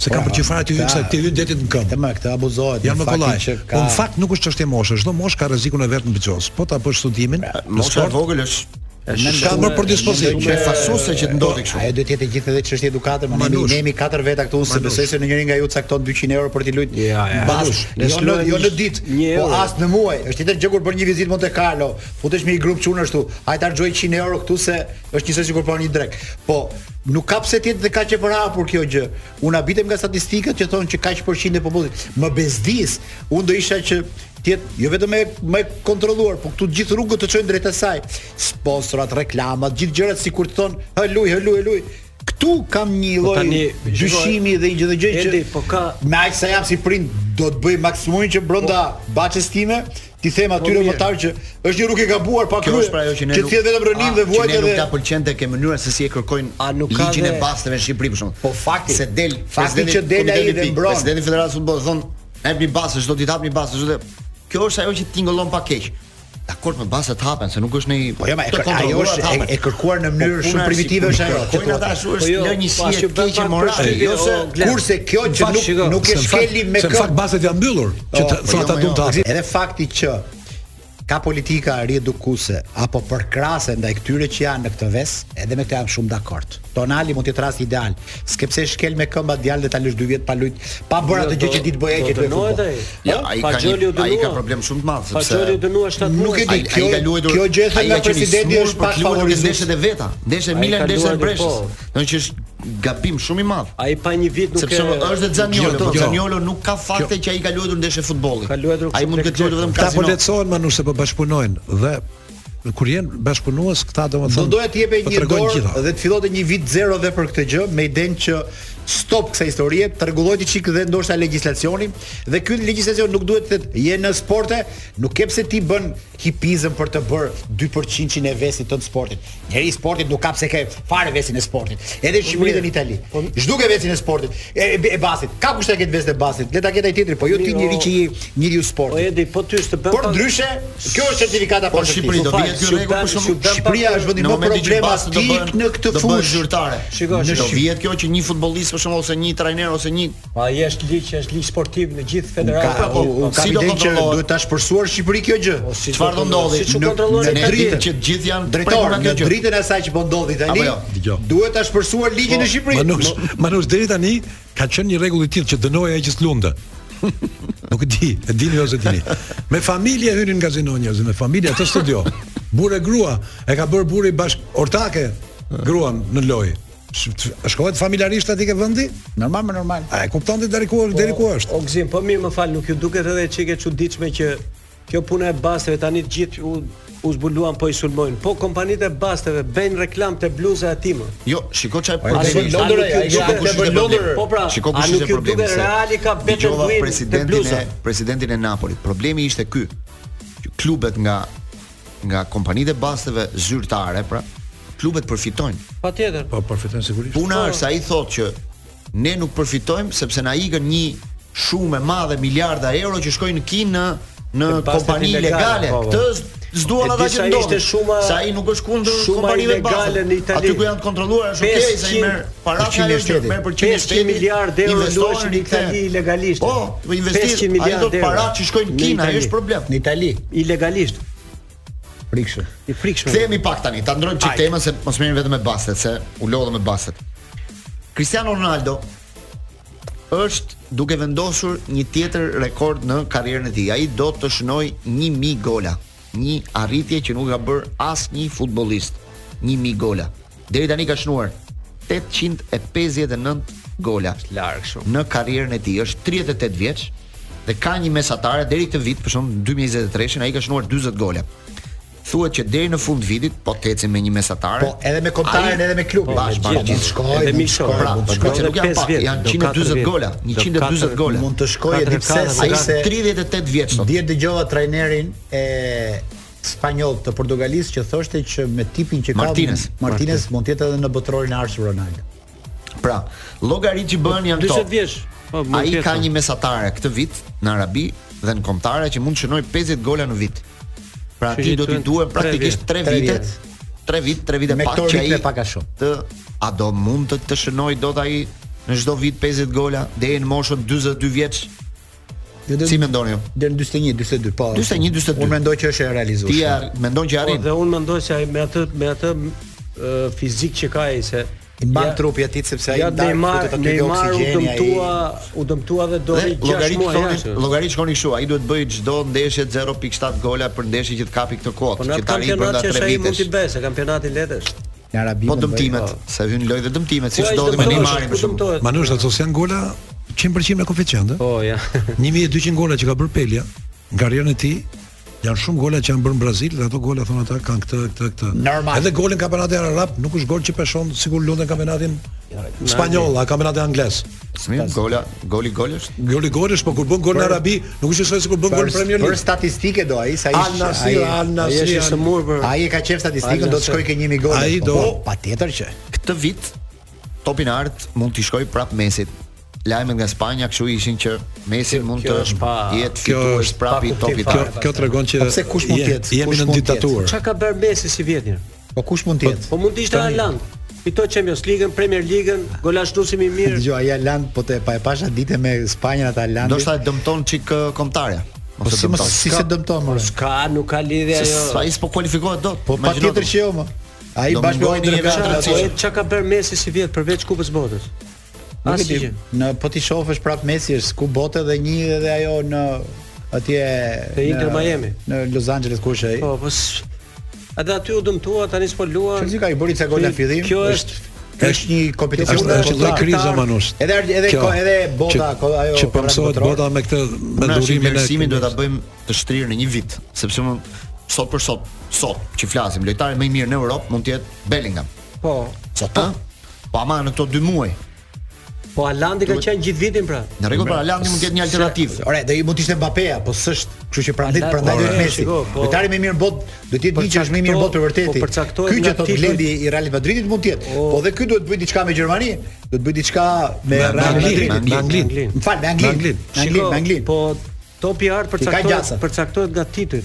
se kanë për Po, çfarë ti hyn se ti hyn detit në Këtë këmbë. më këtë abuzohet. Janë më faktin kollaj. që Po në fakt nuk është çështje moshë, çdo moshë ka rrezikun e vet në bizoz. Po ta bësh studimin, Pra, në Mosha e sport, vogël është Mendoj- ka më predispozit. që e fasuese që të ndodhi kështu. Ajo duhet të jetë gjithë edhe çështje edukate, më ne Manush. jemi- ne jemi katër veta këtu, unë se Manush. besoj se në njëri nga ju cakton 200 euro për t'i luajt. Ja, ja. bas, Manush, ne jo në s'luajmë jo në një- ditë, një po euro. as në muaj. Është tjetër gjë kur bën një vizitë Monte Carlo, futesh me një grup çunë ashtu, hajt harxoj 100 euro këtu se është njësoj sikur po një drek. Po Nuk ka pse tjetë dhe kaq e përhapur kjo gjë. Unë habitem nga statistikët që thonë që kaq përqind e popullit më bezdis. Unë do isha që tjetë jo vetëm e më e kontrolluar, po këtu gjithë rrugët të çojnë drejt asaj. Sponsorat, reklamat, gjithë gjërat sikur të thonë, "Hë luj, hë luj, hë luj." Këtu kam një Po lloj tani, dyshimi dhe një gjë dhe gjë që Edi, po ka- me aq sa jam si prind do të bëj maksimumin që brenda Po. baçës time ti them atyre mirë. votar që është një rrugë e gabuar pa Kjo krye është pra ajo që ne që thjet vetëm rënim dhe vuajtje dhe nuk dhe ta pëlqente ke mënyra se si e kërkojnë A nuk ka ligjin e dhe- basteve në Shqipëri për shkak. Po fakti- se del fakti presidenti që del ai Komitetit dhe Pi, mbron. Presidenti i Federatës së Futbollit thon, "Hapni bastë, çdo ditë hapni bastë, çdo ditë." Kjo është ajo që tingëllon pa keq. Dakor me bastë të hapen, se nuk është një Po jo, ma, e të kër- kontrolluar, ajo është të hapen. e- e kërkuar në Po mënyrë puna shumë e primitive Shqipërisë, është ajo, që Kërkojnë thua. ata ashtu Po është jo, lënjësi pa, e që bën keqe pak morale. përshtypje, Jo se o, Glenn. kurse kjo që Fakt, nuk shiko. nuk e Se në fakt- shkeli me se në fakt baset janë mbyllur, që Oh, të- po thonë jo, ata po duan jo. ta hasin. Edhe fakti që ka politika riedukuse apo përkrase ndaj këtyre që janë në këtë ves, edhe me këtë jam shumë dakord. Tonali mund të jetë rasti ideal. Skepse shkel me këmba djalë dhe ta lësh dy vjet pa lujt, pa bërë Jo, atë gjë që ditë bëja që të dënohet ai. futboll. Ja, ai ka Fagioli u një- ai ka dënua. problem shumë të madh sepse Fagioli u dënua 7 muaj. Nuk e di, Ai- ai kjo ka luajtur- kjo gjë ai thënë nga ka qenë i presidenti smur është për pak klubin e ndeshjet favorizuar. e veta. Ndeshje Ai Milan, ka ndeshje luajtur, Breshës. po. Do që është gabim shumë i madh. Ai pa një vit nuk Sepse e është dhe Zaniolo, Gjolo, po gjolo. Zaniolo nuk ka fakte që ai ka luajtur ndeshje futbolli. Ka luajtur Ai kështu mund të tek luajë vetëm Këta po kazino. lehtësohen manush se po bashkëpunojnë dhe kur jenë bashkëpunues këta Do domethënë doja të jepej po një tregojnë dorë gjitha. dhe të fillonte një vit zero dhe për këtë gjë, me idenë që stop kësaj historie, të rregullojë çik dhe ndoshta legjislacioni dhe ky legjislacion nuk duhet të thotë je në sporte, nuk ke pse ti bën hipizëm për të bërë 2%-in e vesit tënd sportit. Njeri i sportit nuk ka pse ke fare vesin e sportit. Edhe në Shqipëri dhe në Itali. Zhduk e vesin e sportit, e, e, e basit. Ka kushtë e ketë vesin e basit, le ta ketë ai tjetri, po jo ti Mirë, njëri o- që je njeriu i Po sportit. Edi, po ty është të bën. Por ndryshe, kjo është certifikata Po pa Shqipëri do Po, vihet ky si u rregull bën- për si u shkakun. bën Shqipëria është vendi Në më momentin që bastë do problematik bëhen në këtë do bëhen fushë. zyrtare. Shiko, Do shiko. vihet kjo që një futbollist për shembull ose një trajner ose një Pa ai është ligj, është ligj sportiv në gjithë Ka, federatën. po, po, u, u, si ka do idenë që kontrollohet? duhet ta shpërsuar Shqipëri kjo gjë. si çfarë do ndodhi? siç u Në- kontrollon në e ne tani. ditë që të gjithë janë Drejtor, nga në kjo gjë. dritën e asaj që po ndodhi tani, Apo jo, dëgjoj. duhet ta shpërsuar ligjin në Shqipëri. Manush, Manush deri tani ka qenë një rregull i tillë që dënoi ai që s'lunde. Nuk e di, e dini ose dini. Me familje hynin në kazino njerëz, me familje atë studio. Burë e grua, e ka bërë burri bashk ortake gruan në lojë. Sh- t- Shkohet familjarisht aty ke vendi? Normal, më normal. A e kupton ti deri ku deri ku është? O gzim, po mirë më fal, nuk ju duket edhe çike çuditshme që kjo puna e basteve tani të gjithë u, u zbuluan po i sulmojnë. Po kompanitë e basteve bëjnë reklam te bluza e timër. Jo, shiko çaj A problemi. shkon është. Londër, Shiko kush ai ka ishte bërë problemi. Londër. Po pra, shiko a kush nuk ishte ju problemi. duket se reali ka vetëm dëgjova duhet te presidentin bluza. e presidentin e Napolit. Problemi ishte ky. që Klubet nga nga kompanitë e basteve zyrtare, pra, klubet përfitojnë. Patjetër. Po përfiton sigurisht. Puna Po. është ai thotë që ne nuk përfitojmë sepse na ikën një shumë e madhe miliarda euro që shkojnë në Kinë në në Në bastet kompani ilegale, ilegale. po, po. Këtë s- s'duan E ata di që sa ndodh. ishte shuma- sa ai nuk është kundër shuma kompanive ilegale bazë. në Itali. Aty ku janë kontrolluar është okay, sa i 500 merr para për ka ajo që 100 merr për 500 miliardë euro luajshin në Itali ilegalisht. Po, po 500 investim, ai do miliardë para euro që shkojnë në në Kinë, ai Itali. është problem. Në Itali, Ilegalisht. frikshë. I frikshëm. Kthehemi pak tani, ta ndrojmë çik temën se mos merrem vetëm me basket, se u lodhëm me basket. Cristiano Ronaldo është duke vendosur një tjetër rekord në karrierën e tij. Ai do të shënoj 1000 gola, një arritje që nuk ka bërë asnjë futbollist. 1000 gola. Deri tani ka shënuar 859 gola. Është larg shumë. Në karrierën e tij është 38 vjeç dhe ka një mesatare deri këtë vit, për shembull 2023-shin ai ka shënuar 40 gola. Thuhet që deri në fund vitit po të ecim me një mesatare. Po, edhe me kombëtaren, Ai- edhe me klubin. Bash, Po, bash, mund gjithë shkojë, edhe po, mund miqshore, shkojë, Pra, mund mund shkojë. shkoj që shkojë. nuk janë 5 pak, vjet, janë do 140 4 gola, vjet, do 140 4 gola. Mund të shkojë Katër, edhe pse katër, sa Ai ishte është 38 vjeç sot. Dje dëgjova trajnerin e spanjoll të Portugalisë që thoshte që me tipin që ka Martinez. Martinez mund të jetë edhe në botërorin e ardhshëm Ronaldo. Pra, llogarit që bën janë 40 këto. vjeç. Po, më Ai pjesë. ka një mesatare këtë vit në Arabi dhe në kombëtare që mund të shënoj 50 gola në vit. Pra Që ti i do t'i duhen duhen tre praktikisht 3 Tre vite. vjet. 3 vit, 3 vite Me pak këto që ritme ai pak a shumë. të a do mund të të shënoj dot ai në çdo vit 50 gola deri në moshën 42 vjeç. Jo, do- Si mendoni ju? Deri në 41, 42, po. 41, 42. Unë mendoj që është e Ti realizueshme. ar- mendon që Po, arrin? dhe unë mendoj se ai me atë me atë ë, fizik që ka ai se I mban Ja- trupi atit sepse ai Ja ndarë Neymar, futet aty dhe Neymar u oksigjeni ai. dëmtua, u dëmtua dhe dori Dhe 6 llogarit Eh, muaj thonin, jashtë. llogarit shkoni kështu, ai duhet bëj çdo ndeshje 0.7 gola për ndeshje që të kapi këtë Po kuotë, në që atë të arrijë kampionat brenda që 3 është ai mund t'i vitesh. bëj, se kampionati letesh. Në Arabi Po mund të bëj, dëmtimet, po. se hyn lojë dhe dëmtimet, siç Po, ai ndodhi me dëmtohet, Neymarin për ku shembull. dëmtohet? Manush, ato janë gola 100% me koeficient, ë? Po, ja. 1200 gola që ka bërë Pelja në karrierën e tij janë shumë gola që janë bërë në Brazil dhe ato gola thonë ata kanë këtë këtë këtë. Normal. Edhe golin kampionatin arab nuk është gol që peshon sikur lunden kampionatin spanjoll, a kampionatin anglez. Smim gola, goli gol është. Goli gol është, po kur bën gol në Arabi, nuk është se sikur bën gol Për, në Premier për League. statistike do ai, sa Al ish- Nasir, ai- Al Ai Nasir. është i Al- sëmur për. Ai e ka qef statistikën, Al do të Nasser. shkoj ke 1000 gola. Ai do- Po, patjetër që. Këtë vit topi në art mund t'i shkoj prap Mesit. Lajmet nga Spanja kështu ishin që Messi mund kjo të është pa- jetë kjo fitues është prap i kuptim topit. Kjo të fare. kjo tregon që Po pse kush mund të je- jetë? Jemi Kush në mund të jetë? diktaturë. Çka ka bërë Messi si vjetër? Po kush mund të jetë? Po mund të ishte Haaland. Fitoi Champions League-ën, Premier League-ën, golashtusim i mirë. Dgjoj, ai Alan, po të pa e pasha ditë me Spanjën atë Alan. Ndoshta e dëmton çik ë, kombëtare. po si mos dëmton. si se dëmton më. Po Ska, nuk ka lidhje Se ajo. Sa i s'po kualifikohet dot. Po Imagjino patjetër ti. që jo më. Ai Do bashkë mungojnë me Olden një Galan, event ato- Çka, rëndësishme. çka ka bërë Messi si vjet përveç Kupës Botës? Nuk e di, Asgjë. Në po ti shohësh prap Messi është ku bote dhe një edhe ajo në atje Te në- Inter Miami. Në Los Angeles ku është ai? Po, po. s- Edhe aty u dëmtua, tani s'po luan. Çfarë po, ka i bëri ca gola në fillim? Kjo është është një kompeticion Është ndër është bota. lloj krize manush. Edhe edhe Kjo, ko- edhe bota që- ko- ajo që po mësohet karat bota me këtë me Unë ashtu durimin vlerësimin do ta bëjmë të shtrirë në një vit, sepse mund sot për sot, sot që flasim, lojtari më i mirë në Europë mund të jetë Bellingham. po. Sot po. Po ama në këto 2 muaj, Po Alandi ka qenë gjithë vitin pra. në rregull para Landi mund të jetë një alternativë. Ore, do i mund të ishte Mbappé, po s'është, kështu që prandaj Ala- prandaj do të Ore, Messi. shiko, po- Lojtari më i mirë në botë, do të jetë një që është më i mirë në botë për po vërtetë. përcaktohet ky nga që thotë titulli- Blendi i Real Madridit mund të jetë. O. Po dhe ky duhet bëj diçka me Gjermani, do të bëj diçka Me me Real Anglinë, Madridit. me Anglinë. Anglinë. Më fal, me Me Anglinë. Anglinë. Me Anglinë, Shiko, me Anglinë. Po topi i art gjasa. përcaktohet përcaktohet nga titulli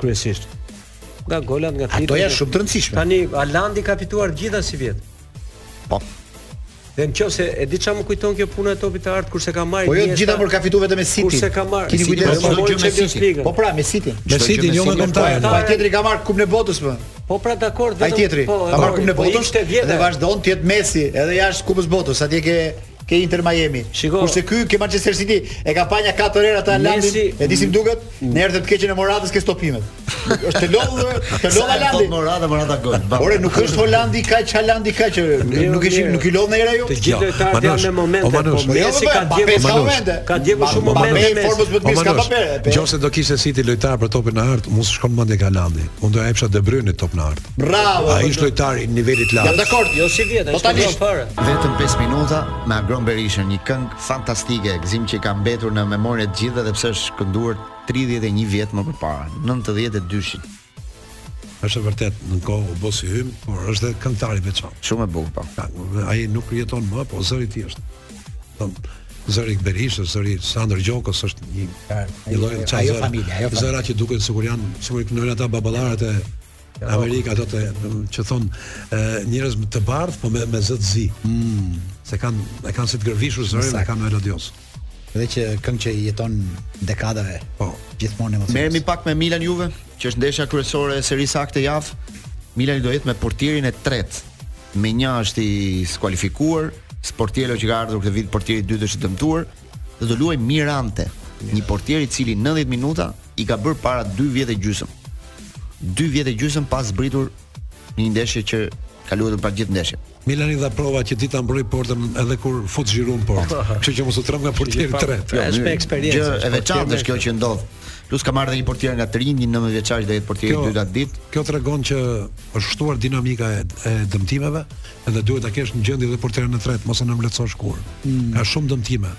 kryesisht. Nga golat, nga titulli. Ato janë shumë të rëndësishme. Tani Alandi ka fituar gjitha si vjet. Po. Dhe në qoftë se e di çka më kujton kjo puna e topit të art kurse ka marrë Po jo të Iniesta, gjitha por ka fitu vetëm me City. Kurse ka marrë. Keni City, kujdes. po, Po çdo mori gjë me Champions City. League-ën. Po pra, me City. Me Çdo gjë City me jo me City, kombëtar. po, Pa tjetri ka marrë kupën e botës më. Po pra dakord, Ai tjetri po, ka marrë kupën e botës Ishte vjetër. dhe vazhdon të jetë Messi edhe jashtë kupës botës. Atje ke ke Inter Miami. Shiko. Kurse ky ke Manchester City e ka panja 4 herë ata Landin. Messi- E di si më duket, në herë të të keqen e Moratës ke stopimet. Është të lodhë, Sa e të lodhë po thot Landi. Morata, Morata gol. Ba- Ore nuk është Holandi kaq Holandi kaq nuk e shih mirë. nuk i lodh në herë ajo. Jo, Të gjithë Jo, lojtarët Manush, janë me o momente, Manush, po jo, Messi po, ka Mbappé djegur ka shumë momente. Ka djegur shumë Mbappé momente i Messi. formës më të Po mirë s'ka Manush, papere. nëse do kishte City lojtar për topin e art, mos shkon mendja nga Landi. Unë do japsha De Bruyne top në art. Bravo. Ai është lojtari i nivelit Po, Jam lart. dakord. Jo si vjet, Po është tani kjo fare. Vetëm 5 minuta me Agron Berishën, një këngë fantastike, gëzim që ka mbetur në memorien e të gjithëve dhe pse është kënduar 31 vjet më përpara, 92-shin. Është vërtet në kohë u bë si hym, por është edhe këngëtar i veçantë. Shumë e bukur po. Ka- Ai nuk jeton më, po zëri i tij është. Thon zëri i Berishës, zëri i Sandër Gjokës është një një lloj ajo- çfarë ajo zëra- familje, ajo familje. Zëra që duken sikur janë, sikur këndojnë ata baballarët e Jo. Amerika ato të që thon e, njerëz më të bardh, po me me zë të zi. Mm. Se kanë e kanë si të gërvishur zërin dhe Sakt. kanë melodios. Edhe që këngë që jeton dekadave. Po. Gjithmonë emociones. Merremi pak me Milan Juve, që është ndeshja kryesore e serisë A këtë javë. Milani do jetë me portierin e tretë. Menja është i skualifikuar, Sportielo që ka ardhur këtë vit, portieri i dytë është i dëmtuar, dhe do luaj Mirante, një portier i cili 90 minuta i ka bërë para 2 vjet e gjysmë. 2 vjet e gjysmë pas zbritur në një ndeshje që ka luajtur pas gjithë ndeshjes. Milani dha prova që dita mbroi portën edhe kur fut Giroud në portë. Kështu që mos u tremb nga portieri i tretë. Jo, Është me mirë. eksperiencë, Gjë është e veçantë është kjo që ndodh. Plus ka marrë dhe një portier nga Trin, një 19 vjeçar që do jetë portieri i Kjo- dytë atë ditë. Kjo tregon që është shtuar dinamika e, e dëmtimeve, edhe duhet ta kesh në gjendje dhe portierin e tretë, mos e nëmletësosh kur. Ka shumë dëmtime.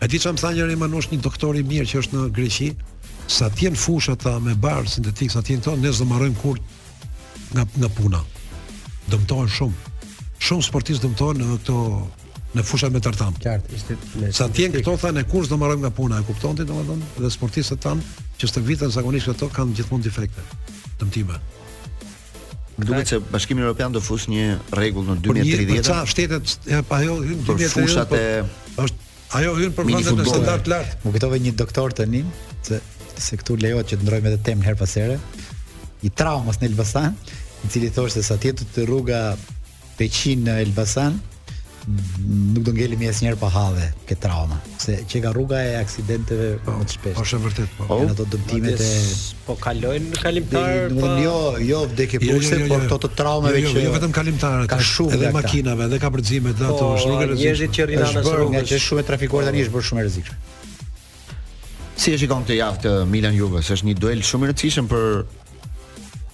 E di çam tha njëri manush një doktor i mirë që është në Greqi, sa të jenë fusha ta me bar sintetik, sa të jenë këto, ne zëmarrojmë kur nga nga puna. Dëmtohen shumë. Shumë sportistë dëmtohen në këto në fusha me tartan. qartë, ishte me Sa t'jen këto thanë e kurz do marrojmë nga puna, e kupton ti domethënë? Dhe sportistët tan që stërviten zakonisht këto kanë gjithmonë defekte, dëmtime. Më duket se Bashkimi Evropian do fus një rregull në Për një për 2030. ça shtetet e, pa ajo hyn Për 2030, fushat po, e- është ajo hyn për Mini vendin në futbollit. standard lart. Më kujtove një doktor të nin, se, se këtu lejohet që të ndrojmë edhe temën her pas here, i traumës në Elbasan, i cili thoshte se sa tjetë të rruga Peqin në Elbasan, m- nuk do ngelemi asnjëherë pa halve këtë trauma, se që ka rruga e aksidenteve më të shpeshta. Është e vërtet po. Po. Janë ato dëmtimet e po kalojnë në kalimtar Domethënë pa jo, jo vdekje puse, por këto të traumave jo, që jo vetëm kalimtarët, ka shumë edhe nga këta. makinave, edhe kapricimet, dhe ato Po, është rrugë e njerëzit rrezikshme. që rrinë është anës bërë nga rrugës. që është shumë e trafikuar tani është bërë shumë e rrezikshme. Si e shikon këtë javë të Milan Juve? Se është një duel shumë i rëndësishëm për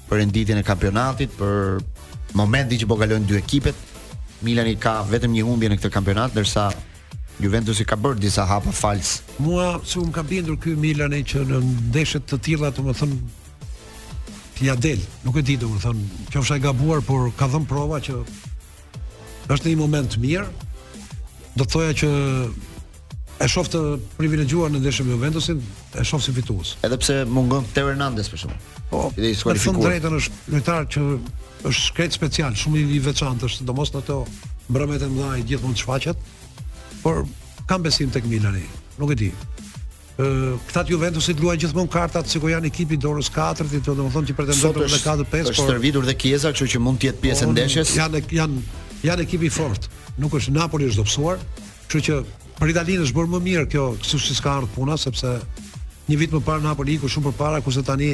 për renditjen e kampionatit, për momentin që po kalojnë dy ekipet. Milani ka vetëm një humbje në këtë kampionat, ndërsa Juventusi ka bërë disa hapa fals. Mua se um ka bindur ky Milani që në ndeshjet të tilla domethënë ja del. Nuk e di domethënë, qofsha e gabuar, por ka dhënë prova që është në një moment të mirë. Do të thoja që e shoh të privilegjuar në ndeshjen me Juventusin, e shoh si fitues. Edhe pse mungon Teo Hernandez për shkakun. Po, Dhe i me thënë skualifikuar. drejtën është lojtar që është shkret special, shumë i veçantë është, domos në ato mbrëmjet e mëdha i gjithmonë shfaqet. Por kam besim tek Milani, nuk e di. Ë, këta të Juventusit luajnë gjithmonë kartat sikur janë ekipi i dorës 4, ti domethënë që pretendon Sot për Po, me është 4-5, është stërvitur dhe Kieza, kështu që mund të jetë pjesë e Unë- ndeshjes. Janë janë janë ekip i fortë. Nuk është Napoli është dobësuar, kështu që për Italinë është bërë më mirë kjo, kështu si s'ka ardhur puna sepse një vit më parë Napoli iku shumë përpara kurse tani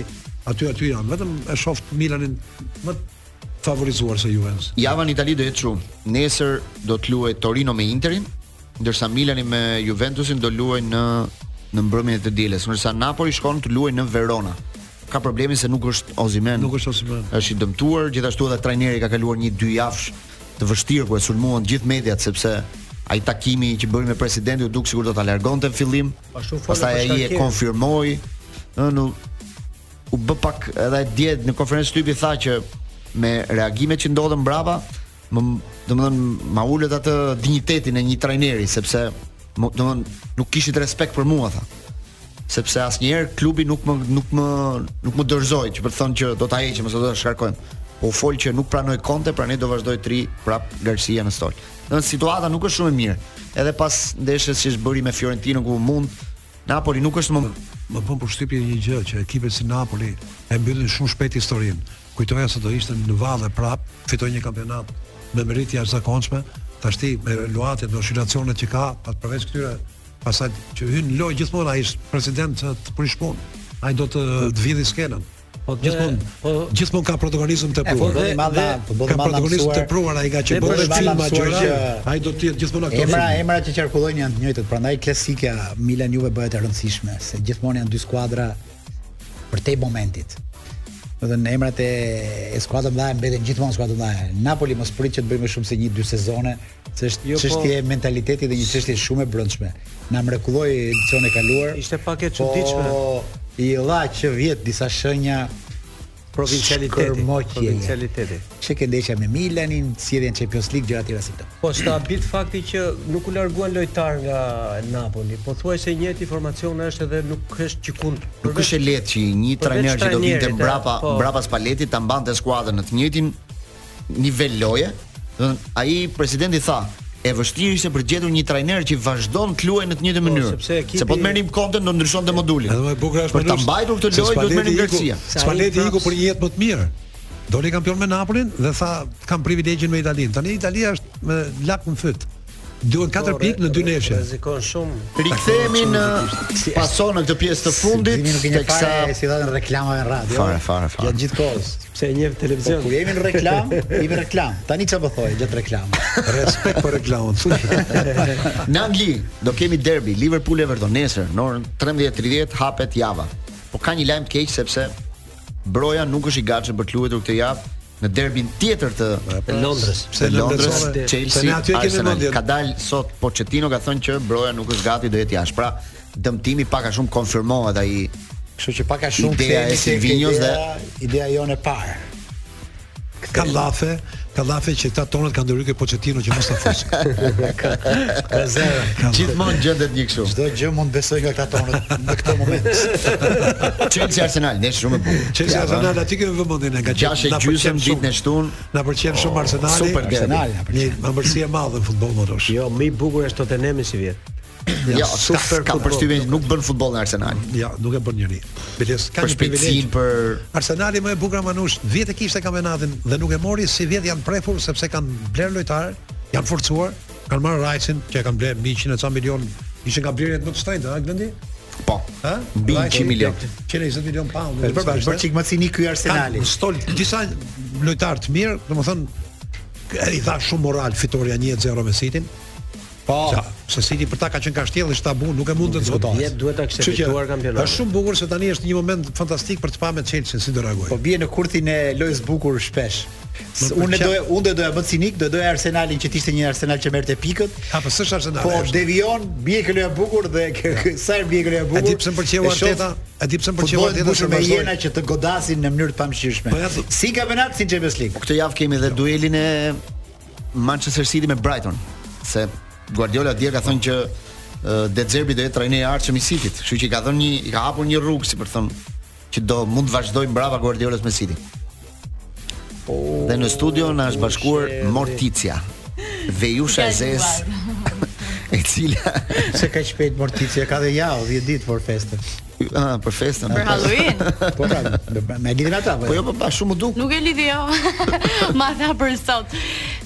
aty aty janë. Vetëm e shoh Milanin më të favorizuar se Juventus. Java në Itali do jetë shumë. Nesër do të luajë Torino me Interin, ndërsa Milani me Juventusin do luajë në në mbrëmjen e të dielës, ndërsa Napoli shkon të luajë në Verona. Ka problemin se nuk është Osimhen. Nuk është Osimhen. Është i dëmtuar, gjithashtu edhe trajneri ka kaluar një dy javësh të vështirë ku e sulmuan gjithë mediat sepse ai takimi që bëri me presidentin u duk sikur do ta largonte në fillim. Pa shumë folë Pastaj për ai e shkarkime. konfirmoi. Ëh, nuk u bë pak edhe dje në konferencë shtypi tha që me reagimet që ndodhen brapa, më domethënë ma ulët atë dinjitetin e një trajneri sepse më- domethënë nuk kishit respekt për mua tha. Sepse asnjëherë klubi nuk më nuk më nuk më dorëzoi që për të thënë që do ta heqim ose do ta shkarkojmë. Po u fol që nuk pranoi Conte, pra ne do vazhdoi tri prap Garcia në stol. Domethënë situata nuk është shumë e mirë. Edhe pas ndeshjes që është bëri me Fiorentinën ku mund Napoli nuk është më Më bën përshtypje një gjë që ekipet si Napoli e mbyllin shumë shpejt historinë. Kujtoja se do ishte në valle prap, fitoi një kampionat me merit jashtëzakonshme. Tashti me luatet, me oscilacionet që ka, pa përveç këtyre, pasaj që hyn në lojë gjithmonë ai është president që të prishpun. Ai do të, të vidhi skenën. Po dhe- gjithmonë po- gjithmonë ka protagonizëm të E po, pruar. futbolli i madh, dhe- futbolli Ka i madh protagonizëm të mësuar. po, pruar ai nga që Dhe bën futbolli i filma madh mësuar gjëra. që- Ai do të jetë gjithmonë aktor. Emra, filmi. emra që qarkullojnë janë të njëjtët, prandaj klasika Milan Juve bëhet e rëndësishme, se gjithmonë janë dy skuadra për te momentit. Do të thënë emrat e, e skuadrave mëdha mbeten gjithmonë skuadra mëdha. Napoli mos prit që të bëjmë shumë se një dy sezone, se është Jo, po- çështje e mentalitetit dhe një çështje shumë e brëndshme. Na mrekulloi edicione e kaluar. Ishte pak e çuditshme. Po i dha që vjet disa shenja provincialiteti, Shkërmoqje. provincialiteti. që ke ndeshja me Milanin, sjelljen Champions League gjëra të tjera si këto. Po sta bit fakti që nuk u larguan lojtar nga Napoli. Po thuaj se njëti formacion është edhe nuk është gjikund. Nuk është e lehtë që një përveç trajner që do vinte trajnerit, e, mbrapa po. mbrapa spaletit ta mbante skuadrën në të njëjtin nivel loje. Do të thënë ai presidenti tha, e vështirë ishte për të gjetur një trajner që vazhdon të luajë në të njëjtën mënyrë. sepse ekipi- Se po të merrnim kontën do ndryshonte modulin. Edhe më e bukur është për ta Manush, mbajtur këtë se lojë do Spalletti të merrnim iku- Garcia. Spalletti Sa i iku praps- për një jetë më të mirë. Doli kampion me Napolin dhe tha kam privilegjin me Italinë. Tani Italia është me lak në fyt. Duhen 4 pikë në dy nefshe. Rrezikon shumë. Rikthehemi në paso në këtë pjesë të fundit Zimi nuk i një teksa fare si dhatën reklama në radio. Fare, fare, fare. Gjatë gjithë kohës. Pse e njeh Po televizion? kur jemi në reklam, jemi në reklam. Tani çfarë po thoj gjatë reklamës? Respekt për reklamën. në Angli do kemi derbi Liverpool Everton nesër në orën 13:30 hapet java. Po ka një lajm të keq sepse Broja nuk është i gatshëm për të luajtur këtë javë në derbin tjetër të Të Londrës. Pse Londrës, Londrës, se Chelsea, ne aty e kemi Arsenal. mendjen. Ka dalë sot Pochettino ka thënë që Broja nuk është gati do jetë jashtë. Pra, dëmtimi pak a shumë konfirmohet ai Kështu që pak a shumë Ideja e kthehemi tek Silvinjos ideja- dhe- ideja jonë e parë. Ka llafe, ka llafe që këta tonët kanë ndërhyrë Pochettino që mos ta fusë. gjithmonë gjendet një kështu. Çdo gjë mund besoj nga këta tonët në këtë moment. Chelsea Arsenal, ne shumë e bukur. Chelsea Java. Arsenal aty kemi vëmendjen e nga Gjashe na pëlqen gjysëm shumë. ditën e shtunë. Na pëlqen shumë Arsenali. super derbi. Arsenali na Një pëlqen. ëmbëlsirë e madhe në futboll motosh. Jo, më i bukur është Tottenhami si vjet. Jo, super super ka futboll. përshtypjen nuk bën futboll në Arsenal. Ja, nuk e bën njëri. Biles ka Për një privilegj. shpejtësinë, për Arsenali më e bukur manush, vjet e kishte kampionatin dhe nuk e mori, si vjet janë prefur sepse kanë bler lojtar, janë forcuar, kanë marrë Rajsin që e kanë bler 100 e ca milion, ishin nga blerjet më të shtrenjta, a Glendi? po. Ha? Mbi Rajsi, 100 milion. 120 milion pound. Është bërë bërë çik më cini ky Arsenali. Kanë stol disa lojtar të mirë, domethënë e i dha shumë moral fitoria 1-0 me City-n. Po, Qa, se City për ta ka qenë kashtjell dhe shtabu, nuk e mund të zgjotohet. Jep duhet ta kishte Kështu që, fituar kampionatin. Është shumë bukur se tani është një moment fantastik për të pamë Chelsea si do po reagojë. bie në kurthin e lojës bukur shpesh. S- Unë pëlqen. doja unë do doja bë cinik, do doja Arsenalin që të ishte një Arsenal që merrte pikët. Ha, po s'është Arsenali. Po është. devion, bie kjo loja e bukur dhe kë- kë- sa herë bie kjo loja e bukur. A di pse më pëlqeu e shoh po Arteta? A di pse më pëlqeu futbollin Arteta mbushur se me vazhdoi? Jena që të godasin në mënyrë të pamëshirshme. Po, ja, po- Si kampionat, si Champions League. Këtë javë kemi Jo. edhe duelin e Manchester City me Brighton, se Guardiola dje ka thënë që ë, De Zerbi do jetë trajneri i arshëm i City-t, kështu që i ka dhënë një i ka hapur një rrugë, si për thon, që do mund të vazhdojmë brava Guardiolës me City. Dhe në studio na është bashkuar Morticia, Vejusha Fjalë Zez, e cila Se ka shpejt Morticia, ka dhe ja 10 ditë për festën. ah, për festën. Për Halloween. Po pra, me- me lidhën ata. Po jo, po pa shumë u duk. Nuk e lidhi jo. Ma tha për sot.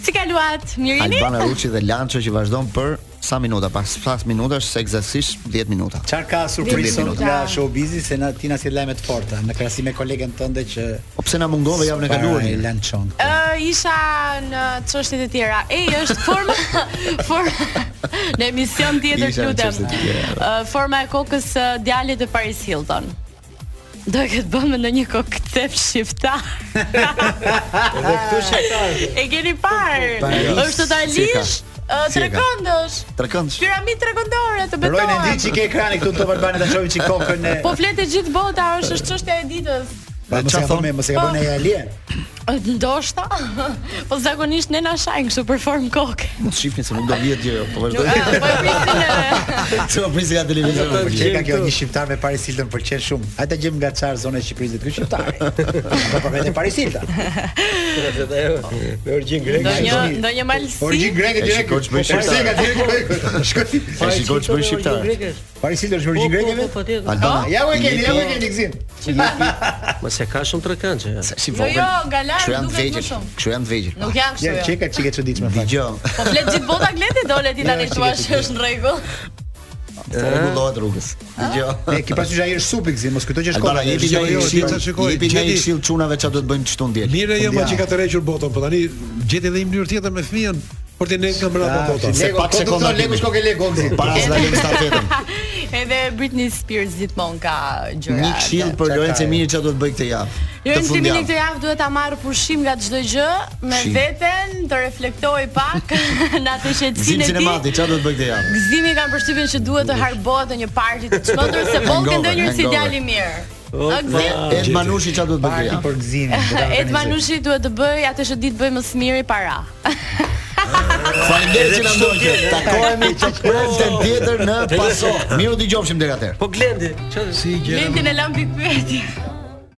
Si kaluat? Mirini? Albana Ruçi dhe Lanço që vazhdon për sa minuta, pas pas minutash se eksaktësisht 10 minuta. Çfarë ka surprizë Vjen sot minuta. nga showbizi se na tina si lajme të forta në krahasim me kolegen tënde që Po pse na mungove javën e kaluar? Para e një? lan çon. Ë, isha në çështjet e tjera. E është forma forma në emision tjetër Isha në lutem. çështjet e tjera. Ë, forma e kokës së djalit të Paris Hilton. Do e këtë bëmë në një koktep shqiptar Edhe këtu shqiptar. E keni parë Paris, është totalisht si ë, Si e ka? Trekëndësh Trekëndësh. Piramid trekëndore të Rojnë e ndi betohen që ke ekrani këtu në Top Albani ta shohim çik kokën e Po flet e gjithë bota, është është çështja e ditës. Po mos e ka thonë, mos e ka bërë ai alien. Ndoshta. Po zakonisht ne na shajnë kështu për formë koke. Mos shifni se nuk do vjet gjë, po vazhdoj. Ë, Po e prisin e- Se po prisi nga televizioni. Që ka kjo një shqiptar me Paris Hilton pëlqen shumë. Hajde ta gjejmë nga çfarë zone e Shqipërisë ky shqiptar. Po për vetë Paris Hilton. Me origjinë greke. ndonjë ndonjë malsi. Origjinë greke E direkt. shikoj që bëj Po, pse shqiptar. ka direkt greke? Shkoj. E shikoj ç'bën shqiptar. Paris Hilton është me origjinë greke? Albana. Ja u e keni, ja u e keni gzim. Mos e ka shumë trekëndshë. ja. Si Jo, vogël. jo, nga Kështu larg janë të duket më vegjël. shumë. Kështu janë të vegjël. Nuk janë Ja kështu. jo. çeka çike çuditshme fakt. Dgjoj. Po flet gjithë bota gleti dole ti tani Ja, thua shike, se shike. është në rregull. po Rregullohet rrugës. Ah. Dgjoj. Ne ki pasur ai është supi gzim, mos kujto që shkon. Albana, jepi Jo, një jo, djeca këshill, shikoj, jepi një gjeti. këshill çunave çfarë do të bëjnë çtu ndjel. Mire jema Ja. jo, që ka tërhequr botën, po tani gjeti edhe një mënyrë tjetër me fëmijën për të nejtë nga mbrapa bota. se pak se sekonda kondo. Lego kemi. shkon ke Lego gzim. Para se ta lëmë stafetën. Edhe Britney Spears gjithmonë ka gjëra. Një këshill për Çfarë Lorenz ka, Emini çfarë do të bëj këtë javë. Jo, në filmin e fundjavë. këtë javë duhet ta marr pushim nga çdo gjë, me Pushim. veten, të reflektoj pak në atë Zim qetësinë e tij. sinemati, çfarë do të bëj këtë javë? Gëzimi kanë përshtypjen që duhet të harbohet në një parti të çmendur se Volkan Hangover, ndonjëherë si hangover. djalë i mirë. A gëzim? Ed Manushi çfarë do të bëj këtë Parti javë? për gzimin. do ta Ed organizojmë. Manushi duhet të bëj atë që ditë bëj më së miri para. Faleminderit që na ndoqët. Takohemi të premten tjetër në Paso. Miru dëgjofshim deri atëherë. Po Glendi, çfarë Si gjë. Lindin e lëm pikë pyetje.